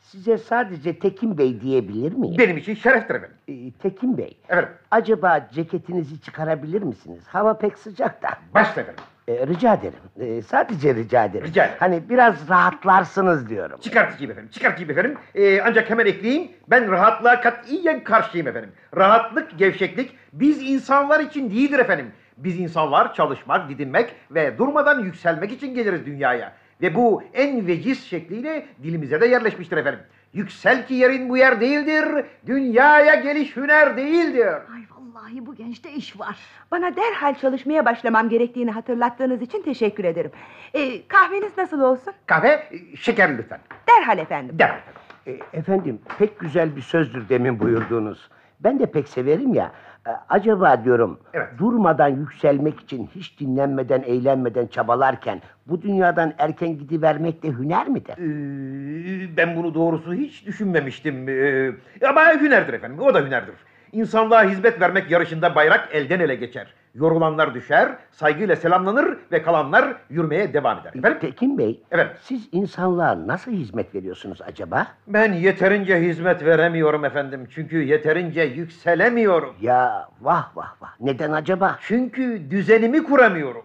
[SPEAKER 2] Size sadece Tekin Bey diyebilir miyim?
[SPEAKER 7] Benim için şereftir efendim.
[SPEAKER 2] Ee, Tekin Bey.
[SPEAKER 7] Efendim
[SPEAKER 2] Acaba ceketinizi çıkarabilir misiniz? Hava pek sıcak da.
[SPEAKER 7] başla efendim.
[SPEAKER 2] Ee, rica ederim. Ee, sadece rica ederim.
[SPEAKER 7] Rica ederim.
[SPEAKER 2] Hani biraz rahatlarsınız diyorum.
[SPEAKER 7] Çıkartacağım efendim, çıkartacağım efendim. Ee, ancak hemen ekleyeyim, ben rahatlığa katiyen karşıyım efendim. Rahatlık, gevşeklik biz insanlar için değildir efendim. Biz insanlar çalışmak, didinmek ve durmadan yükselmek için geliriz dünyaya. Ve bu en veciz şekliyle dilimize de yerleşmiştir efendim. Yüksel ki yerin bu yer değildir, dünyaya geliş hüner değildir.
[SPEAKER 4] Ay vallahi bu gençte iş var.
[SPEAKER 3] Bana derhal çalışmaya başlamam gerektiğini hatırlattığınız için teşekkür ederim. Ee, kahveniz nasıl olsun?
[SPEAKER 7] Kahve, e, şeker lütfen.
[SPEAKER 3] Derhal efendim.
[SPEAKER 7] Derhal efendim.
[SPEAKER 2] E, Efendim pek güzel bir sözdür demin buyurduğunuz. Ben de pek severim ya. E, Acaba diyorum
[SPEAKER 7] Evet.
[SPEAKER 2] durmadan yükselmek için hiç dinlenmeden eğlenmeden çabalarken bu dünyadan erken gidivermek de hüner midir?
[SPEAKER 7] Ee, ben bunu doğrusu hiç düşünmemiştim. Ee, ama hünerdir efendim, o da hünerdir. İnsanlığa hizmet vermek yarışında bayrak elden ele geçer. Yorulanlar düşer, saygıyla selamlanır ve kalanlar yürümeye devam eder. Efendim,
[SPEAKER 2] Tekin Bey,
[SPEAKER 7] Efendim?
[SPEAKER 2] siz insanlığa nasıl hizmet veriyorsunuz acaba?
[SPEAKER 7] ben yeterince hizmet veremiyorum efendim. Çünkü yeterince yükselemiyorum.
[SPEAKER 2] Ya vah vah vah neden acaba?
[SPEAKER 7] Çünkü düzenimi kuramıyorum.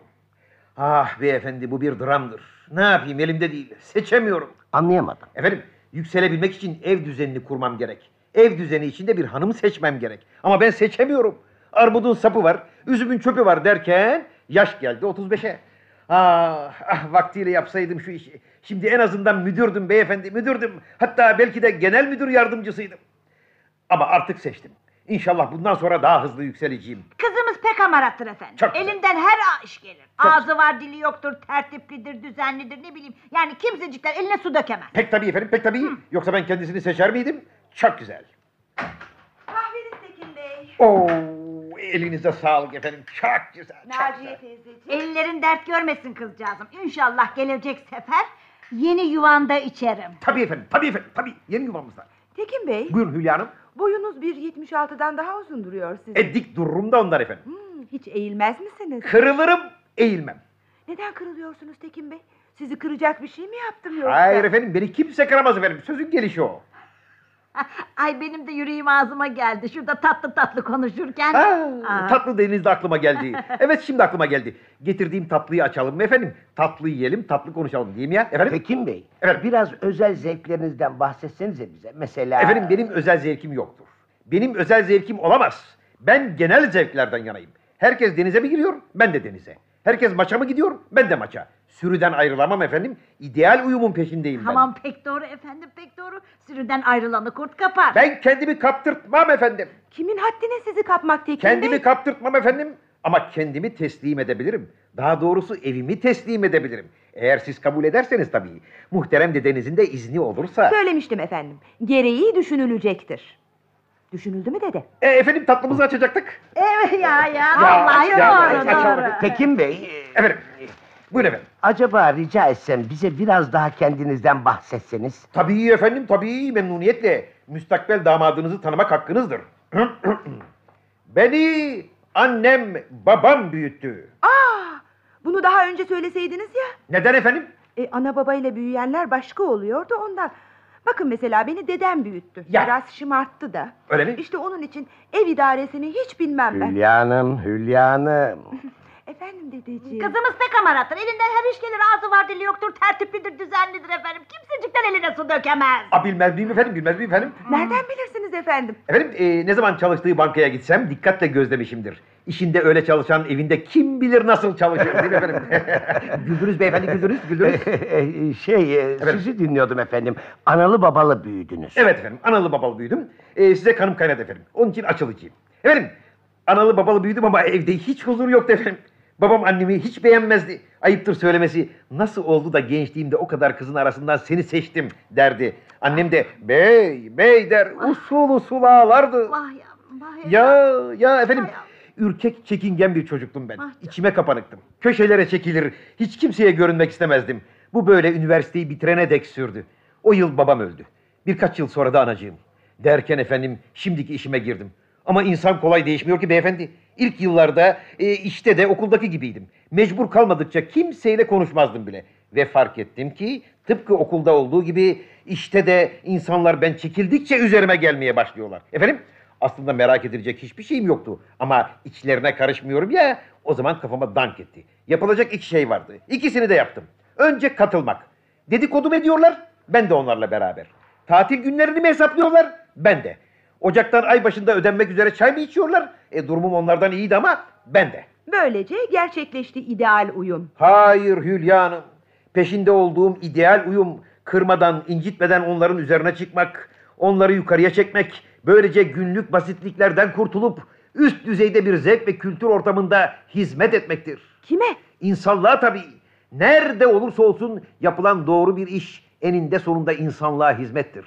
[SPEAKER 7] Ah beyefendi bu bir dramdır. Ne yapayım elimde değil, seçemiyorum.
[SPEAKER 2] Anlayamadım.
[SPEAKER 7] Efendim yükselebilmek için ev düzenini kurmam gerek. Ev düzeni içinde bir hanım seçmem gerek. Ama ben seçemiyorum. Armudun sapı var, üzümün çöpü var derken yaş geldi 35'e. Ah, ah vaktiyle yapsaydım şu işi. Şimdi en azından müdürdüm beyefendi, müdürdüm. Hatta belki de genel müdür yardımcısıydım. Ama artık seçtim. İnşallah bundan sonra daha hızlı yükseleceğim.
[SPEAKER 4] Kızımız pek hamarattır efendim.
[SPEAKER 7] Çok güzel.
[SPEAKER 4] Elinden her iş gelir. Ağzı var, dili yoktur, tertiplidir, düzenlidir ne bileyim. Yani kimsecikler eline su dökemez.
[SPEAKER 7] Pek tabii efendim, pek tabii. Yoksa ben kendisini seçer miydim? Çok güzel.
[SPEAKER 3] Kahveniz Tekin Bey.
[SPEAKER 7] Oo, elinize sağlık efendim. Çok güzel, çok güzel.
[SPEAKER 3] Naciye teyzeciğim.
[SPEAKER 4] Ellerin dert görmesin kızcağızım. İnşallah gelecek sefer yeni yuvanda içerim.
[SPEAKER 7] Tabii efendim, tabii efendim, tabii. Yeni yuvamızda.
[SPEAKER 3] Tekin Bey,
[SPEAKER 7] Buyurun Hülya Hanım.
[SPEAKER 3] boyunuz 1.76'dan daha uzun duruyor sizin.
[SPEAKER 7] E, dik dururum da onlar efendim.
[SPEAKER 3] Hmm, hiç eğilmez misiniz?
[SPEAKER 7] Kırılırım, eğilmem.
[SPEAKER 3] Neden kırılıyorsunuz Tekin Bey? Sizi kıracak bir şey mi yaptım yoksa?
[SPEAKER 7] Hayır efendim, beni kimse kıramaz efendim. Sözün gelişi o.
[SPEAKER 4] Ay benim de yüreğim ağzıma geldi. Şurada tatlı tatlı konuşurken.
[SPEAKER 7] Aa,
[SPEAKER 4] Aa,
[SPEAKER 7] tatlı denizde aklıma geldi. Evet şimdi aklıma geldi. Getirdiğim tatlıyı açalım mı efendim? Tatlı yiyelim, tatlı konuşalım diyeyim ya. Efendim?
[SPEAKER 2] Tekin Bey,
[SPEAKER 7] Efendim?
[SPEAKER 2] biraz özel zevklerinizden bahsetsenize bize. Mesela...
[SPEAKER 7] Efendim benim özel zevkim yoktur. Benim özel zevkim olamaz. Ben genel zevklerden yanayım. Herkes denize mi giriyor? Ben de denize. Herkes maça mı gidiyor? Ben de maça. Sürüden ayrılamam efendim. İdeal uyumun peşindeyim ben.
[SPEAKER 4] tamam pek doğru efendim pek doğru. Sürüden ayrılanı kurt kapar.
[SPEAKER 7] Ben kendimi kaptırtmam efendim.
[SPEAKER 3] Kimin haddine sizi kapmak Tekin Bey?
[SPEAKER 7] Kendimi kaptırtmam efendim. Ama kendimi teslim edebilirim. Daha doğrusu evimi teslim edebilirim. Eğer siz kabul ederseniz tabii. Muhterem dedenizin de izni olursa.
[SPEAKER 3] Söylemiştim efendim. Gereği düşünülecektir. Düşünüldü mü dede?
[SPEAKER 7] E, efendim tatlımızı açacaktık.
[SPEAKER 4] Evet ya ya. Vallahi
[SPEAKER 7] ya,
[SPEAKER 4] doğru
[SPEAKER 7] ya, ya,
[SPEAKER 4] doğru.
[SPEAKER 2] Tekin Bey, e,
[SPEAKER 7] Efendim. Buyurun efendim.
[SPEAKER 2] Acaba rica etsem bize biraz daha kendinizden bahsetseniz.
[SPEAKER 7] Tabii efendim tabii memnuniyetle müstakbel damadınızı tanımak hakkınızdır. Beni annem babam büyüttü.
[SPEAKER 3] Aa, bunu daha önce söyleseydiniz ya.
[SPEAKER 7] Neden efendim?
[SPEAKER 3] E, ana babayla büyüyenler başka oluyor da ondan. Bakın mesela beni dedem büyüttü.
[SPEAKER 7] Ya.
[SPEAKER 3] Biraz şımarttı da.
[SPEAKER 7] Öyle mi?
[SPEAKER 3] İşte onun için ev idaresini hiç bilmem ben.
[SPEAKER 2] Hülya Hanım, Hülya Hanım.
[SPEAKER 3] Efendim dedeciğim.
[SPEAKER 4] Kızımız pek hamarattır. Elinden her iş gelir. Ağzı var dili yoktur. Tertiplidir, düzenlidir efendim. Kimsecikten eline su dökemez.
[SPEAKER 7] Aa, bilmez miyim efendim bilmez miyim efendim?
[SPEAKER 3] Nereden bilirsiniz efendim?
[SPEAKER 7] Efendim e, ne zaman çalıştığı bankaya gitsem dikkatle gözlemişimdir. İşinde öyle çalışan evinde kim bilir nasıl çalışır değil mi efendim? güldünüz beyefendi güldünüz güldünüz.
[SPEAKER 2] şey, e, sizi dinliyordum efendim. Analı babalı büyüdünüz.
[SPEAKER 7] Evet efendim, analı babalı büyüdüm. Ee, size kanım kaynadı efendim. Onun için açılıcıyım. Efendim, analı babalı büyüdüm ama evde hiç huzur yoktu efendim. Babam annemi hiç beğenmezdi. Ayıptır söylemesi. Nasıl oldu da gençliğimde o kadar kızın arasından seni seçtim derdi. Annem de bey, bey der usul usul ağlardı.
[SPEAKER 4] Vah yavrum vah evladım.
[SPEAKER 7] Ya ya efendim
[SPEAKER 4] Hay Allah.
[SPEAKER 7] ürkek çekingen bir çocuktum ben.
[SPEAKER 4] Ah canım.
[SPEAKER 7] İçime kapanıktım. Köşelere çekilir. Hiç kimseye görünmek istemezdim. Bu böyle üniversiteyi bitirene dek sürdü. O yıl babam öldü. Birkaç yıl sonra da anacığım. Derken efendim şimdiki işime girdim. Ama insan kolay değişmiyor ki beyefendi. İlk yıllarda e, işte de okuldaki gibiydim. Mecbur kalmadıkça kimseyle konuşmazdım bile. Ve fark ettim ki tıpkı okulda olduğu gibi işte de insanlar ben çekildikçe üzerime gelmeye başlıyorlar. Efendim aslında merak edilecek hiçbir şeyim yoktu. Ama içlerine karışmıyorum ya, o zaman kafama dank etti. Yapılacak iki şey vardı. İkisini de yaptım. Önce katılmak. Dedikodum ediyorlar, ben de onlarla beraber. Tatil günlerini mi hesaplıyorlar, ben de. Ocaktan ay başında ödenmek üzere çay mı içiyorlar? E durumum onlardan iyiydi ama ben de.
[SPEAKER 3] Böylece gerçekleşti ideal uyum.
[SPEAKER 7] Hayır Hülya Hanım. Peşinde olduğum ideal uyum kırmadan, incitmeden onların üzerine çıkmak, onları yukarıya çekmek, böylece günlük basitliklerden kurtulup üst düzeyde bir zevk ve kültür ortamında hizmet etmektir.
[SPEAKER 3] Kime?
[SPEAKER 7] İnsanlığa tabii. Nerede olursa olsun yapılan doğru bir iş eninde sonunda insanlığa hizmettir.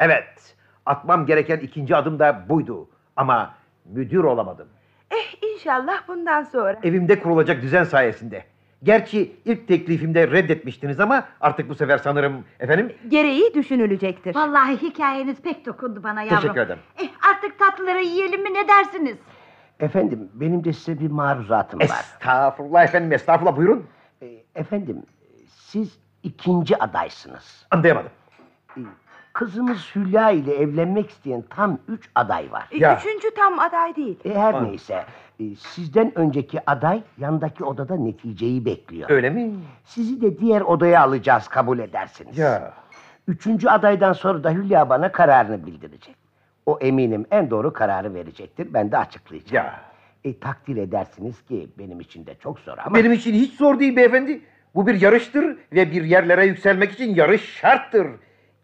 [SPEAKER 7] Evet, atmam gereken ikinci adım da buydu ama müdür olamadım
[SPEAKER 3] Eh inşallah bundan sonra.
[SPEAKER 7] evimde kurulacak düzen sayesinde. Gerçi ilk teklifimde reddetmiştiniz ama artık bu sefer sanırım efendim
[SPEAKER 3] Gereği düşünülecektir.
[SPEAKER 4] Vallahi hikayeniz pek dokundu bana yavrum.
[SPEAKER 7] Teşekkür ederim.
[SPEAKER 4] Eh, artık tatlıları yiyelim mi ne dersiniz?
[SPEAKER 2] Efendim, benim de size bir maruzatım E, var.
[SPEAKER 7] estağfurullah efendim estağfurullah buyurun.
[SPEAKER 2] E, Efendim, siz ikinci adaysınız.
[SPEAKER 7] Anlayamadım.
[SPEAKER 2] Kızımız Hülya ile evlenmek isteyen tam üç aday var.
[SPEAKER 3] E,
[SPEAKER 7] Ya.
[SPEAKER 3] Üçüncü tam aday değil.
[SPEAKER 2] E, her
[SPEAKER 7] Anladım.
[SPEAKER 2] neyse, e, sizden önceki aday yandaki odada neticeyi bekliyor.
[SPEAKER 7] Öyle mi?
[SPEAKER 2] Sizi de diğer odaya alacağız kabul edersiniz.
[SPEAKER 7] Ya.
[SPEAKER 2] Üçüncü adaydan sonra da Hülya bana kararını bildirecek. O eminim en doğru kararı verecektir. Ben de açıklayacağım.
[SPEAKER 7] Ya.
[SPEAKER 2] E, takdir edersiniz ki benim için de çok zor ama...
[SPEAKER 7] Benim için hiç zor değil beyefendi. Bu bir yarıştır ve bir yerlere yükselmek için yarış şarttır.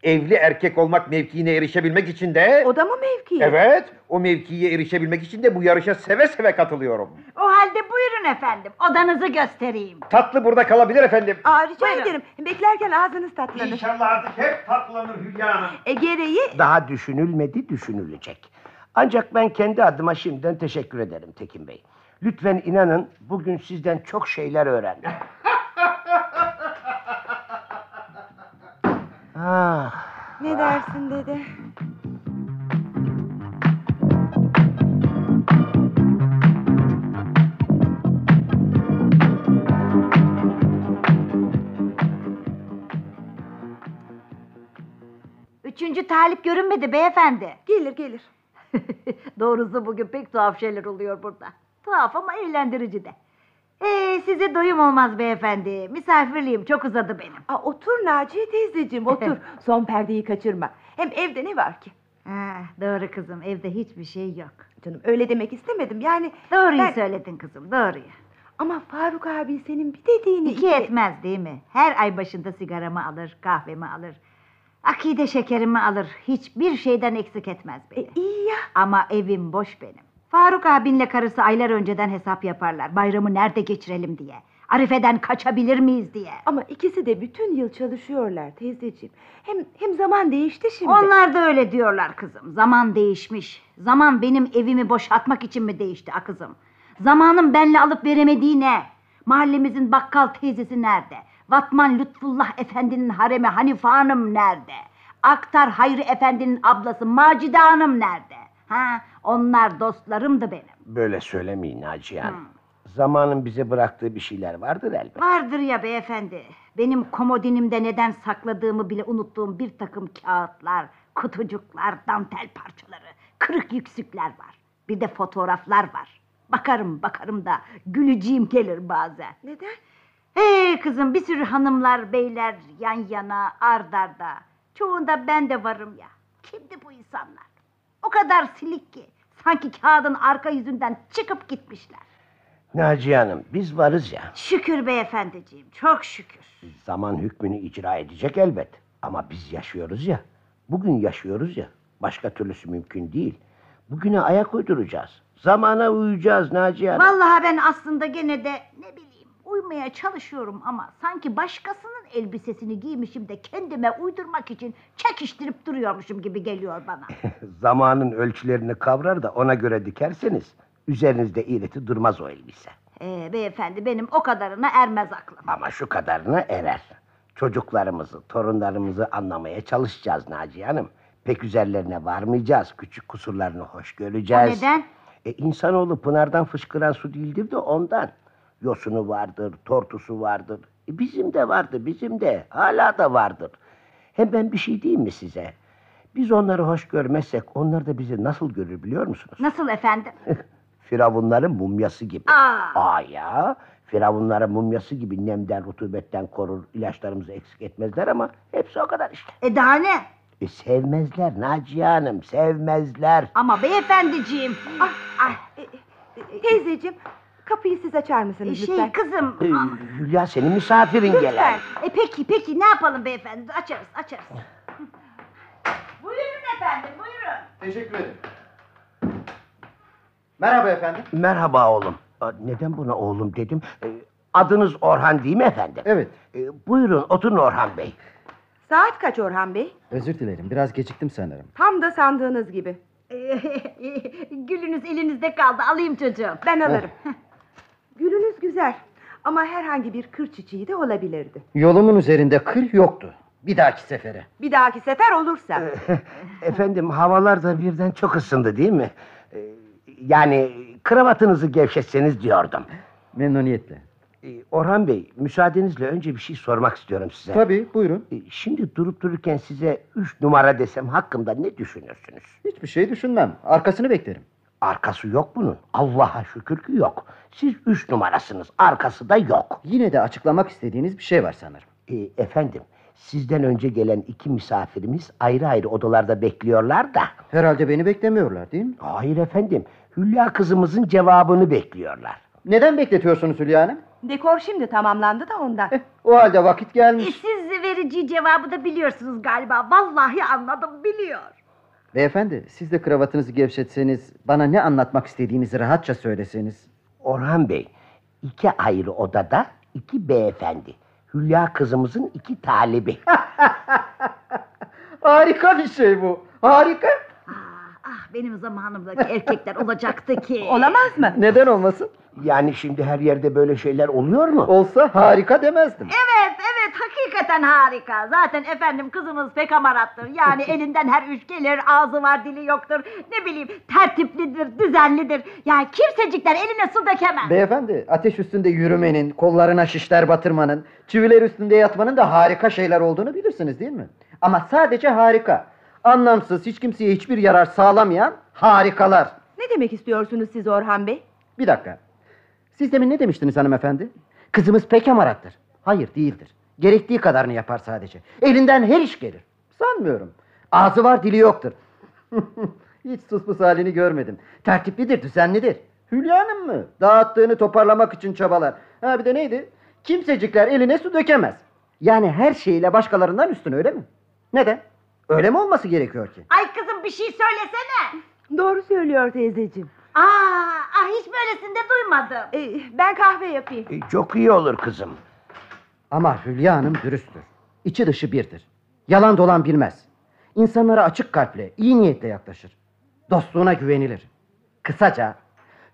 [SPEAKER 7] Evli erkek olmak mevkiine erişebilmek için de...
[SPEAKER 3] O da mı mevki?
[SPEAKER 7] Evet, o mevkiye erişebilmek için de bu yarışa seve seve katılıyorum.
[SPEAKER 4] O halde buyurun efendim odanızı göstereyim.
[SPEAKER 7] Tatlı burada kalabilir efendim.
[SPEAKER 3] Aa, rica
[SPEAKER 4] Buyurun.
[SPEAKER 3] ederim. Beklerken ağzınız tatlanır.
[SPEAKER 7] İnşallah artık hep tatlanır Hülya Hanım.
[SPEAKER 3] E, gereği
[SPEAKER 2] Daha düşünülmedi, düşünülecek. Ancak ben kendi adıma şimdiden teşekkür ederim Tekin Bey. Lütfen inanın bugün sizden çok şeyler öğrendim. ah,
[SPEAKER 3] ne dersin dede?
[SPEAKER 4] Üçüncü talip görünmedi beyefendi.
[SPEAKER 3] Gelir gelir.
[SPEAKER 4] Doğrusu bugün pek tuhaf şeyler oluyor burada. Tuhaf ama eğlendirici de. Ee, size doyum olmaz beyefendi. Misafirliğim çok uzadı benim.
[SPEAKER 3] Aa, otur Naciye teyzeciğim otur. Son perdeyi kaçırma. Hem evde ne var ki?
[SPEAKER 4] Ha, doğru kızım evde hiçbir şey yok.
[SPEAKER 3] Canım öyle demek istemedim yani.
[SPEAKER 4] Doğruyu
[SPEAKER 3] Ben-
[SPEAKER 4] söyledin kızım doğruyu.
[SPEAKER 3] Ama Faruk abi senin bir dediğini...
[SPEAKER 4] İki etmez değil mi? Her ay başında sigaramı alır, kahvemi alır. Akide şekerimi alır. Hiçbir şeyden eksik etmez beni.
[SPEAKER 3] iyi ya.
[SPEAKER 4] Ama evim boş benim. Faruk abinle karısı aylar önceden hesap yaparlar. Bayramı nerede geçirelim diye. Arife'den kaçabilir miyiz diye.
[SPEAKER 3] Ama ikisi de bütün yıl çalışıyorlar teyzeciğim. Hem hem zaman değişti şimdi.
[SPEAKER 4] Onlar da öyle diyorlar kızım. Zaman değişmiş. Zaman benim evimi boşaltmak için mi değişti a kızım? Zamanın benle alıp veremediği ne? Mahallemizin bakkal teyzesi nerede? Vatman Lütfullah Efendi'nin haremi Hanife Hanım nerede? Aktar Hayri Efendi'nin ablası Macide Hanım nerede? Ha, onlar dostlarımdı benim.
[SPEAKER 2] böyle söylemeyin Naciye Hanım. Zamanın bize bıraktığı bir şeyler vardır elbet.
[SPEAKER 4] Vardır ya beyefendi. Benim komodinimde neden sakladığımı bile unuttuğum bir takım kağıtlar, kutucuklar, dantel parçaları, kırık yüksükler var. Bir de fotoğraflar var. Bakarım bakarım da güleceğim gelir bazen.
[SPEAKER 3] Neden?
[SPEAKER 4] Hey kızım bir sürü hanımlar, beyler yan yana, ard arda. Çoğunda ben de varım ya. Kimdi bu insanlar? O kadar silik ki. Sanki kağıdın arka yüzünden çıkıp gitmişler.
[SPEAKER 2] Naciye Hanım biz varız ya.
[SPEAKER 4] Şükür beyefendiciğim, çok şükür.
[SPEAKER 2] Zaman hükmünü icra edecek elbet. Ama biz yaşıyoruz ya. Bugün yaşıyoruz ya. Başka türlüsü mümkün değil. Bugüne ayak uyduracağız. Zamana uyacağız Naciye Hanım.
[SPEAKER 4] Vallahi ben aslında gene de ne bileyim uymaya çalışıyorum ama sanki başkasının elbisesini giymişim de kendime uydurmak için çekiştirip duruyormuşum gibi geliyor bana.
[SPEAKER 2] Zamanın ölçülerini kavrar da ona göre dikerseniz üzerinizde iğreti durmaz o elbise.
[SPEAKER 4] Ee, beyefendi benim o kadarına ermez aklım.
[SPEAKER 2] Ama şu kadarına erer. Çocuklarımızı, torunlarımızı anlamaya çalışacağız Naciye Hanım. Pek üzerlerine varmayacağız. Küçük kusurlarını hoş göreceğiz.
[SPEAKER 4] O neden?
[SPEAKER 2] E, insanoğlu pınardan fışkıran su değildir de ondan. Yosunu vardır, tortusu vardır. E, bizim de vardı, bizim de. Hala da vardır. Hem ben bir şey diyeyim mi size? Biz onları hoş görmezsek onlar da bizi nasıl görür biliyor musunuz?
[SPEAKER 4] Nasıl efendim?
[SPEAKER 2] Firavunların mumyası gibi.
[SPEAKER 4] Aa!
[SPEAKER 2] Aa ya. Firavunların mumyası gibi nemden, rutubetten korur, ilaçlarımızı eksik etmezler ama hepsi o kadar işte.
[SPEAKER 4] E daha ne?
[SPEAKER 2] E, sevmezler Naciye Hanım, sevmezler.
[SPEAKER 4] Ama beyefendiciğim. Ah, ah,
[SPEAKER 3] E, Teyzeciğim kapıyı siz açar mısınız
[SPEAKER 4] e,
[SPEAKER 3] lütfen?
[SPEAKER 4] şey kızım.
[SPEAKER 2] E,
[SPEAKER 4] ah,
[SPEAKER 2] Hülya senin misafirin gelen.
[SPEAKER 4] Lütfen. E peki peki ne yapalım beyefendi? Açarız açarız. buyurun efendim buyurun.
[SPEAKER 8] Teşekkür ederim. Merhaba efendim.
[SPEAKER 2] Merhaba oğlum. Aa, Neden buna oğlum dedim? E, Adınız Orhan değil mi efendim?
[SPEAKER 7] Evet.
[SPEAKER 2] E, Buyurun oturun Orhan Bey.
[SPEAKER 3] Saat kaç Orhan Bey?
[SPEAKER 7] Özür dilerim. Biraz geciktim sanırım.
[SPEAKER 3] Tam da sandığınız gibi.
[SPEAKER 4] Gülünüz elinizde kaldı. Alayım çocuğum.
[SPEAKER 3] Ben
[SPEAKER 7] Oh.
[SPEAKER 3] alırım. Gülünüz güzel ama herhangi bir kır çiçeği de olabilirdi.
[SPEAKER 7] Yolumun üzerinde kır yoktu. Bir dahaki sefere.
[SPEAKER 3] Bir dahaki sefer olursa.
[SPEAKER 2] Efendim havalar da birden çok ısındı değil mi? E, Yani kravatınızı gevşetseniz diyordum.
[SPEAKER 7] Memnuniyetle.
[SPEAKER 2] E, Orhan Bey müsaadenizle önce bir şey sormak istiyorum size.
[SPEAKER 7] Tabii buyurun.
[SPEAKER 2] E, Şimdi durup dururken size üç numara desem hakkımda ne düşünürsünüz?
[SPEAKER 7] Hiçbir şey düşünmem. Arkasını beklerim.
[SPEAKER 2] Arkası yok bunun. Allah'a şükür ki yok. Siz üç numarasınız. Arkası da yok.
[SPEAKER 7] Yine de açıklamak istediğiniz bir şey var sanırım.
[SPEAKER 2] E, efendim, sizden önce gelen iki misafirimiz ayrı ayrı odalarda bekliyorlar da.
[SPEAKER 7] Herhalde beni beklemiyorlar değil mi?
[SPEAKER 2] Hayır efendim, Hülya kızımızın cevabını bekliyorlar.
[SPEAKER 7] Neden bekletiyorsunuz Hülya Hanım?
[SPEAKER 3] Dekor şimdi tamamlandı da ondan.
[SPEAKER 7] Eh, o halde vakit
[SPEAKER 4] E,
[SPEAKER 7] gelmiş.
[SPEAKER 4] siz vereceği cevabı da biliyorsunuz galiba. Vallahi anladım biliyor.
[SPEAKER 7] Beyefendi siz de kravatınızı gevşetseniz bana ne anlatmak istediğinizi rahatça söyleseniz.
[SPEAKER 2] Orhan Bey, iki ayrı odada iki beyefendi. Hülya kızımızın iki talebi.
[SPEAKER 7] Harika bir şey bu. Harika.
[SPEAKER 4] Ah benim zamanımdaki erkekler olacaktı ki.
[SPEAKER 3] Olamaz mı?
[SPEAKER 7] Neden olmasın?
[SPEAKER 2] Yani şimdi her yerde böyle şeyler oluyor mu?
[SPEAKER 7] Olsa harika demezdim.
[SPEAKER 4] Evet evet hakikaten harika. Zaten efendim kızımız pek amarattır. Yani elinden her üç gelir, ağzı var dili yoktur. Ne bileyim tertiplidir, düzenlidir. Yani kimsecikler eline su dökemez.
[SPEAKER 7] Beyefendi ateş üstünde yürümenin, kollarına şişler batırmanın, çiviler üstünde yatmanın da harika şeyler olduğunu bilirsiniz değil mi? Ama sadece harika. Anlamsız, hiç kimseye hiçbir yarar sağlamayan harikalar.
[SPEAKER 3] Ne demek istiyorsunuz siz Orhan Bey?
[SPEAKER 7] Bir dakika. Siz demin ne demiştiniz hanımefendi? Kızımız pek amarattır. Hayır değildir. Gerektiği kadarını yapar sadece. Elinden her iş gelir. Sanmıyorum. Ağzı var dili yoktur. Hiç suspus halini görmedim. Tertiplidir, düzenlidir. Hülya Hanım mı? Dağıttığını toparlamak için çabalar. Ha bir de neydi? Kimsecikler eline su dökemez. Yani her şeyiyle başkalarından üstün öyle mi? Neden? Öyle mi olması gerekiyor ki?
[SPEAKER 4] Ay kızım bir şey söylesene.
[SPEAKER 3] Doğru söylüyor teyzeciğim.
[SPEAKER 4] Aa, ah hiç böylesinde duymadım.
[SPEAKER 3] Ee, ben kahve yapayım.
[SPEAKER 2] E, Çok iyi olur kızım.
[SPEAKER 7] Ama Hülya Hanım dürüsttür. İçi dışı birdir. Yalan dolan bilmez. İnsanlara açık kalple, iyi niyetle yaklaşır. Dostluğuna güvenilir. Kısaca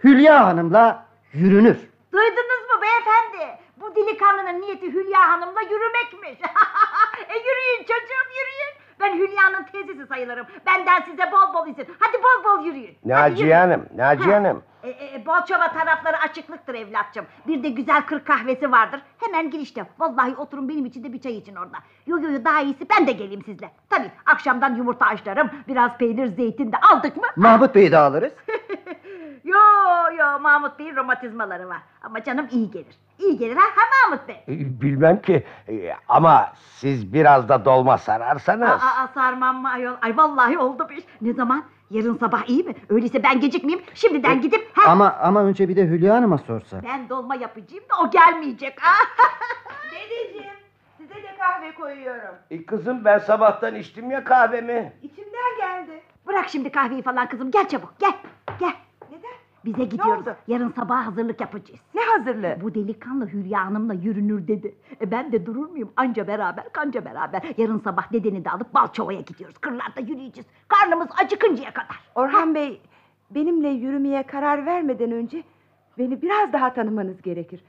[SPEAKER 7] Hülya Hanım'la yürünür.
[SPEAKER 4] Duydunuz mu beyefendi? Bu delikanlının niyeti Hülya Hanım'la yürümekmiş. e yürüyün çocuğum yürüyün. Ben Hülya'nın teyzesi sayılırım. Benden size bol bol izin. Hadi bol bol yürüyün. Hadi
[SPEAKER 2] Naciye
[SPEAKER 4] yürüyün.
[SPEAKER 2] Hanım, Naciye
[SPEAKER 4] Ha.
[SPEAKER 2] Hanım.
[SPEAKER 4] E, e, Bolçova tarafları açıklıktır evlatçım. Bir de güzel kırk kahvesi vardır. Hemen girişte. Vallahi oturun benim için de bir çay için orada. Yo yo yo daha iyisi ben de geleyim sizle. Tabii akşamdan yumurta haşlarım. Biraz peynir zeytin de aldık mı?
[SPEAKER 7] Mahmut Bey'i de alırız.
[SPEAKER 4] Yo yo Mahmut Bey'in romatizmaları var. Ama canım iyi gelir. İyi gelir ha, ha Mahmut Bey.
[SPEAKER 2] E, Bilmem ki E, ama siz biraz da dolma sararsanız.
[SPEAKER 4] Aa, aa, sarmam mı ayol? Ay vallahi oldu bir iş. Ne zaman? Yarın sabah iyi mi? Öyleyse ben gecikmeyeyim. Şimdiden gidip... Ha,
[SPEAKER 9] E, Ama ama önce bir de Hülya Hanım'a sorsa.
[SPEAKER 4] Ben dolma yapacağım da o gelmeyecek.
[SPEAKER 3] Dedeciğim size de kahve koyuyorum.
[SPEAKER 2] E kızım ben sabahtan içtim ya kahvemi.
[SPEAKER 3] İçimden geldi.
[SPEAKER 4] Bırak şimdi kahveyi falan kızım. Gel çabuk gel. Gel.
[SPEAKER 3] Neden?
[SPEAKER 4] Bize gidiyoruz.
[SPEAKER 3] oldu?
[SPEAKER 4] Yarın sabah hazırlık yapacağız.
[SPEAKER 3] Ne hazırlığı?
[SPEAKER 4] Bu delikanlı Hülya Hanım'la yürünür dedi. E ben de durur muyum? Anca beraber, kanca beraber. Yarın sabah dedeni de alıp Balçova'ya gidiyoruz. Kırlarda yürüyeceğiz. Karnımız acıkıncaya kadar.
[SPEAKER 3] Orhan Bey benimle yürümeye karar vermeden önce beni biraz daha tanımanız gerekir.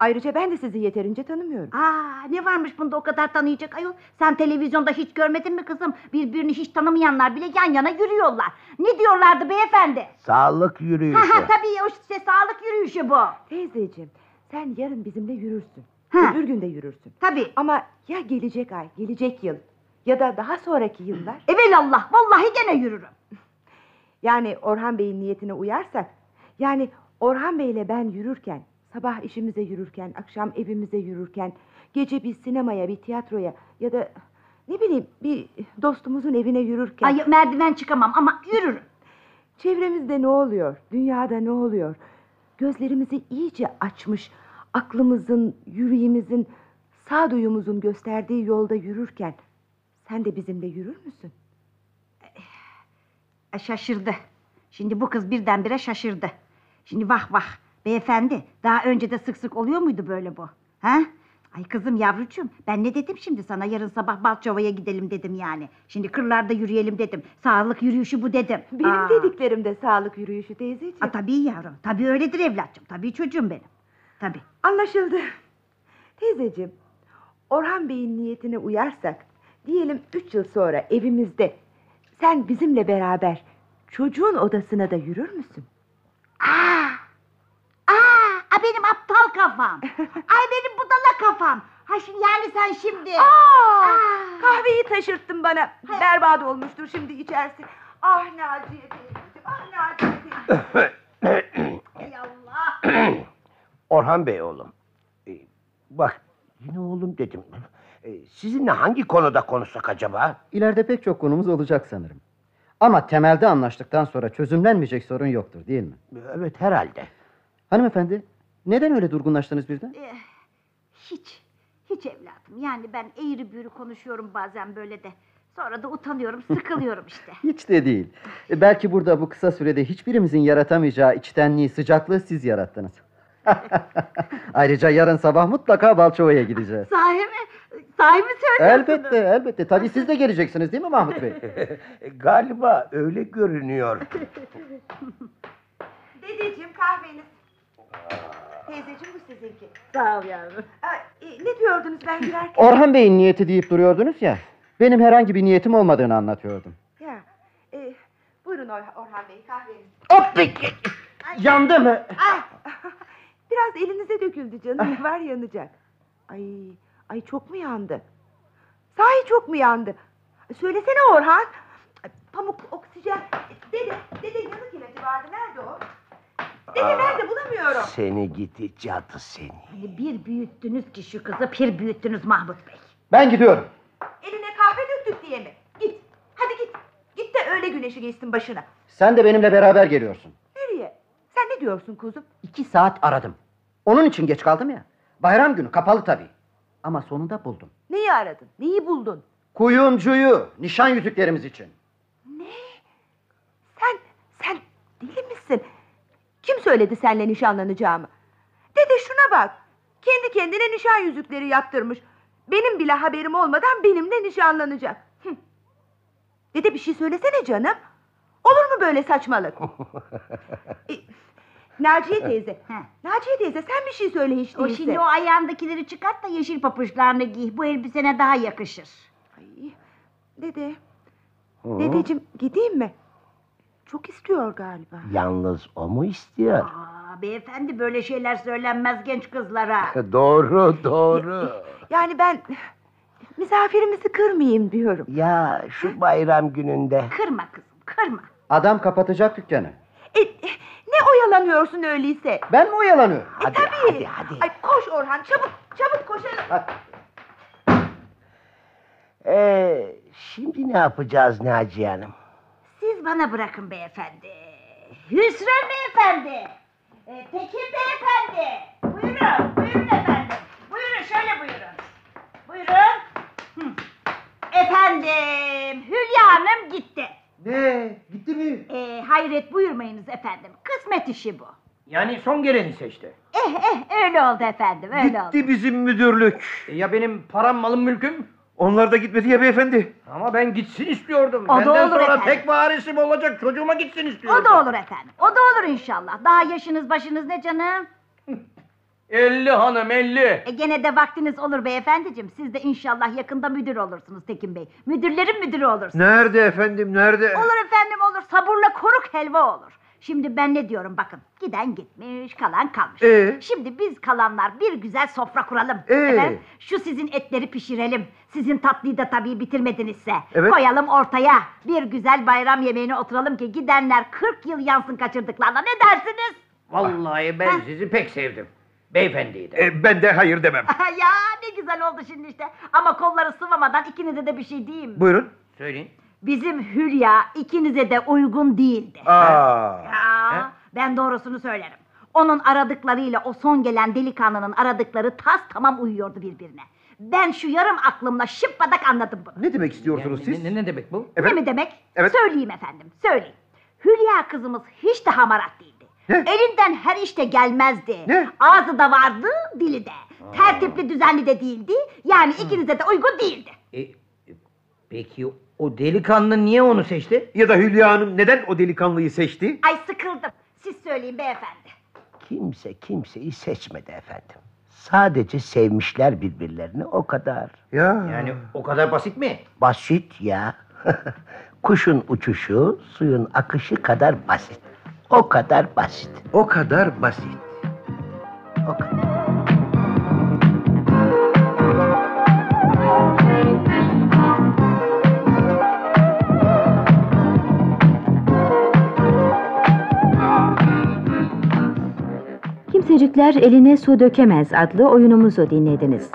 [SPEAKER 3] Ayrıca ben de sizi yeterince tanımıyorum.
[SPEAKER 4] Aa ne varmış bunda o kadar tanıyacak ayol? Sen televizyonda hiç görmedin mi kızım? Birbirini hiç tanımayanlar bile yan yana yürüyorlar. Ne diyorlardı beyefendi?
[SPEAKER 2] Sağlık
[SPEAKER 4] Ha ha
[SPEAKER 2] yürüyüşü.
[SPEAKER 4] tabii o işte sağlık yürüyüşü bu.
[SPEAKER 3] Teyzeciğim sen yarın bizimle yürürsün.
[SPEAKER 4] Ha.
[SPEAKER 3] Öbür gün de yürürsün.
[SPEAKER 4] Tabii.
[SPEAKER 3] Ama ya gelecek ay, gelecek yıl ya da daha sonraki yıllar
[SPEAKER 4] Evelallah vallahi gene yürürüm.
[SPEAKER 3] yani Orhan Bey'in niyetine uyarsak yani Orhan Bey'le ben yürürken sabah işimize yürürken, akşam evimize yürürken, gece bir sinemaya, bir tiyatroya ya da ne bileyim bir dostumuzun evine yürürken
[SPEAKER 4] Ay merdiven çıkamam ama yürürüm.
[SPEAKER 3] Çevremizde ne oluyor? Dünyada ne oluyor? Gözlerimizi iyice açmış, aklımızın, yüreğimizin, sağduyumuzun gösterdiği yolda yürürken sen de bizimle yürür müsün?
[SPEAKER 4] E, Şaşırdı. Şimdi bu kız birdenbire şaşırdı. Şimdi vah vah beyefendi daha önce de sık sık oluyor muydu böyle bu? Ha? Ay kızım yavrucuğum ben ne dedim şimdi sana yarın sabah Balçova'ya gidelim dedim yani. Şimdi kırlarda yürüyelim dedim. Sağlık yürüyüşü bu dedim.
[SPEAKER 3] Benim
[SPEAKER 4] Aa.
[SPEAKER 3] dediklerim de sağlık yürüyüşü teyzeciğim.
[SPEAKER 4] Aa, tabii yavrum tabii öyledir evlatçım tabii çocuğum benim. Tabii.
[SPEAKER 3] Anlaşıldı. Teyzeciğim, Orhan Bey'in niyetine uyarsak, diyelim üç yıl sonra evimizde sen bizimle beraber çocuğun odasına da yürür müsün?
[SPEAKER 4] Aa! Aa! Aa, benim aptal kafam. Ay benim budala kafam. Ha şimdi yani sen şimdi.
[SPEAKER 3] Aa,
[SPEAKER 4] Aa!
[SPEAKER 3] Kahveyi taşırttın bana. Berbat olmuştur şimdi içerisi. Ah Naciye teyzeciğim, ah Naciye
[SPEAKER 4] Eh.
[SPEAKER 3] teyzeciğim.
[SPEAKER 4] Ey Allah.
[SPEAKER 2] Orhan Bey oğlum. e, bak yine oğlum dedim. E, sizinle hangi konuda konuşsak acaba?
[SPEAKER 9] İleride pek çok konumuz olacak sanırım. Ama temelde anlaştıktan sonra çözümlenmeyecek sorun yoktur değil mi?
[SPEAKER 2] Evet herhalde.
[SPEAKER 9] Hanımefendi, neden öyle durgunlaştınız birden?
[SPEAKER 4] Eh, Hiç. Hiç evladım. Yani ben eğri büğrü konuşuyorum bazen böyle de. Sonra da utanıyorum, sıkılıyorum işte.
[SPEAKER 9] Hiç de değil. E, Belki burada bu kısa sürede hiçbirimizin yaratamayacağı içtenliği, sıcaklığı siz yarattınız. Ayrıca yarın sabah mutlaka Balçova'ya gideceğiz.
[SPEAKER 4] Sahi mi? Sahi mi söylüyorsunuz?
[SPEAKER 9] Elbette, elbette. Tabii siz de geleceksiniz değil mi Mahmut Bey?
[SPEAKER 2] E, galiba öyle görünüyor.
[SPEAKER 3] Dedeciğim kahveniz. Teyzeciğim bu sizinki.
[SPEAKER 4] Sağ ol yavrum.
[SPEAKER 3] Aa, e, ne diyordunuz ben girerken?
[SPEAKER 9] Orhan Bey'in niyeti deyip duruyordunuz ya. Benim herhangi bir niyetim olmadığını anlatıyordum.
[SPEAKER 3] ya, e, buyurun Or- Orhan Bey kahveniz.
[SPEAKER 9] Yandı mı?
[SPEAKER 3] Biraz elinize döküldü
[SPEAKER 4] Ah.
[SPEAKER 3] canım. Var yanacak. Ay, ay çok mu yandı? Sahi çok mu yandı? Söylesene Orhan. Ay, Pamuk, oksijen. Dede, dede yanık ilacı vardı. Nerede o? Dede nerede bulamıyorum.
[SPEAKER 2] Seni gidi cadı seni.
[SPEAKER 4] Hani bir büyüttünüz ki şu kızı, bir büyüttünüz Mahmut Bey.
[SPEAKER 9] Ben gidiyorum.
[SPEAKER 3] Eline kahve döktük diye mi? Git, hadi git. Git de öyle güneşi geçsin başına.
[SPEAKER 9] Sen de benimle beraber geliyorsun.
[SPEAKER 3] Nereye? Sen ne diyorsun kuzum?
[SPEAKER 9] İki saat aradım. Onun için geç kaldım ya. Bayram günü kapalı tabii. Ama sonunda buldum.
[SPEAKER 3] Neyi aradın? Neyi buldun?
[SPEAKER 9] Kuyumcuyu nişan yüzüklerimiz için.
[SPEAKER 3] Sen, sen deli misin? Kim söyledi seninle nişanlanacağımı? Dede şuna bak. Kendi kendine nişan yüzükleri yaptırmış. Benim bile haberim olmadan benimle nişanlanacak. Hıh. Dede bir şey söylesene canım. Olur mu böyle saçmalık? E, Naciye teyze.
[SPEAKER 4] Heh.
[SPEAKER 3] Naciye teyze sen bir şey söyle hiç
[SPEAKER 4] Şey O
[SPEAKER 3] değilse.
[SPEAKER 4] şimdi o ayağındakileri çıkart da yeşil papuçlarını giy. Bu elbisene daha yakışır.
[SPEAKER 3] Ay, dede. Dedeciğim gideyim mi? Çok istiyor galiba.
[SPEAKER 2] Yalnız o mu istiyor?
[SPEAKER 4] Aa, beyefendi böyle şeyler söylenmez genç kızlara.
[SPEAKER 2] doğru doğru.
[SPEAKER 3] Yani ben misafirimizi kırmayayım diyorum.
[SPEAKER 2] ya şu bayram gününde.
[SPEAKER 4] Kırma kızım, kırma.
[SPEAKER 9] Adam kapatacak dükkanı.
[SPEAKER 3] E, e, ne oyalanıyorsun öyleyse?
[SPEAKER 9] Ben mi oyalanıyorum?
[SPEAKER 2] Hadi
[SPEAKER 3] Tabii.
[SPEAKER 2] hadi hadi.
[SPEAKER 3] Ay koş Orhan çabuk çabuk koşalım.
[SPEAKER 2] E, Ee, şimdi ne yapacağız Naciye Hanım?
[SPEAKER 4] Siz Siz bana bırakın beyefendi. Hüsran beyefendi. Ee, Tekin beyefendi. Buyurun, buyurun efendim. Buyurun, şöyle buyurun. Buyurun. Hı. Efendim, Hülya Hanım gitti.
[SPEAKER 10] Ne? Gitti mi?
[SPEAKER 4] Ee, hayret buyurmayınız efendim. Kısmet işi bu.
[SPEAKER 10] Yani son geleni seçti.
[SPEAKER 4] Eh eh öyle oldu efendim, öyle oldu.
[SPEAKER 7] Gitti bizim müdürlük.
[SPEAKER 10] E ya benim param, malım, mülküm?
[SPEAKER 7] Onlar da gitmedi ya beyefendi.
[SPEAKER 10] Ama ben gitsin istiyordum.
[SPEAKER 4] O da
[SPEAKER 10] Benden
[SPEAKER 4] olur
[SPEAKER 10] sonra
[SPEAKER 4] efendim.
[SPEAKER 10] tek varisim olacak çocuğuma gitsin istiyordum.
[SPEAKER 4] O da olur efendim, o da olur inşallah. Daha yaşınız başınız ne canım?
[SPEAKER 10] 50 hanım 50.
[SPEAKER 4] E gene de vaktiniz olur beyefendiciğim. Siz de inşallah yakında müdür olursunuz Tekin Bey. Müdürlerin müdürü olursunuz.
[SPEAKER 7] Nerede efendim nerede?
[SPEAKER 4] Olur efendim olur. Sabırla koruk helva olur. Şimdi ben ne diyorum bakın. Giden gitmiş, kalan kalmış.
[SPEAKER 7] Ee?
[SPEAKER 4] Şimdi biz kalanlar bir güzel sofra kuralım.
[SPEAKER 7] Ee?
[SPEAKER 4] Efendim, şu sizin etleri pişirelim. Sizin tatlıyı da tabii bitirmedinizse.
[SPEAKER 7] Evet.
[SPEAKER 4] Koyalım ortaya. Bir güzel bayram yemeğine oturalım ki gidenler 40 yıl yansın kaçırdıklarına. Ne dersiniz?
[SPEAKER 5] Vallahi ben sizi pek sevdim. Beyefendiyi de.
[SPEAKER 7] E, ben de hayır demem.
[SPEAKER 4] ya ne güzel oldu şimdi işte. Ama kolları sıvamadan ikinize de bir şey diyeyim. mi?
[SPEAKER 7] Buyurun.
[SPEAKER 5] Söyleyin.
[SPEAKER 4] Bizim Hülya ikinize de uygun değildi.
[SPEAKER 7] Aa.
[SPEAKER 4] Ya, ben doğrusunu söylerim. Onun aradıklarıyla o son gelen delikanlının aradıkları tas tamam uyuyordu birbirine. Ben şu yarım aklımla şıppadak anladım bunu.
[SPEAKER 7] Ne demek istiyorsunuz
[SPEAKER 5] Yani
[SPEAKER 7] siz?
[SPEAKER 5] Ne, ne, ne demek bu?
[SPEAKER 7] Evet.
[SPEAKER 4] Ne mi demek?
[SPEAKER 7] Evet.
[SPEAKER 4] Söyleyeyim efendim, söyleyeyim. Hülya kızımız hiç de hamarat değildi.
[SPEAKER 7] Ne?
[SPEAKER 4] Elinden her işte gelmezdi.
[SPEAKER 7] Ne?
[SPEAKER 4] Ağzı da vardı, dili de. Tertipli, düzenli de değildi. Yani ikinize de uygun değildi.
[SPEAKER 5] E, e, peki o delikanlı niye onu seçti?
[SPEAKER 7] Ya da Hülya Hanım neden o delikanlıyı seçti?
[SPEAKER 4] Ay sıkıldım. Siz söyleyin beyefendi.
[SPEAKER 2] Kimse kimseyi seçmedi efendim. Sadece sevmişler birbirlerini o kadar.
[SPEAKER 7] Ya.
[SPEAKER 10] Yani o kadar basit mi?
[SPEAKER 2] Basit ya. Kuşun uçuşu suyun akışı kadar basit. O kadar basit.
[SPEAKER 7] o kadar basit.
[SPEAKER 2] O kadar.
[SPEAKER 1] Kimsecikler Eline Su Dökemez adlı oyunumuzu dinlediniz.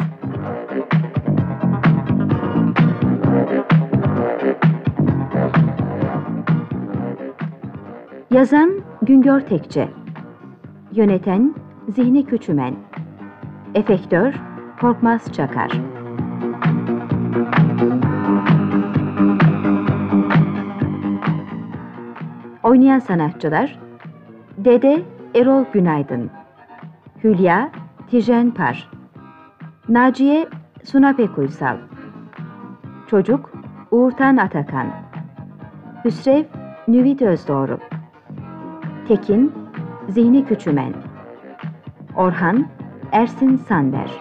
[SPEAKER 1] Yazan Güngör Tekçe Yöneten Zihni Küçümen Efektör Korkmaz Çakar Oynayan sanatçılar Dede Erol Günaydın Hülya Tijen Par Naciye Sunapek Uysal Çocuk Uğurtan Atakan Hüsrev Nüvit Özdoğru Tekin Zihni Küçümen Orhan Ersin Sanber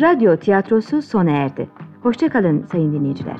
[SPEAKER 1] Radyo tiyatrosu sona erdi. Hoşçakalın sayın dinleyiciler.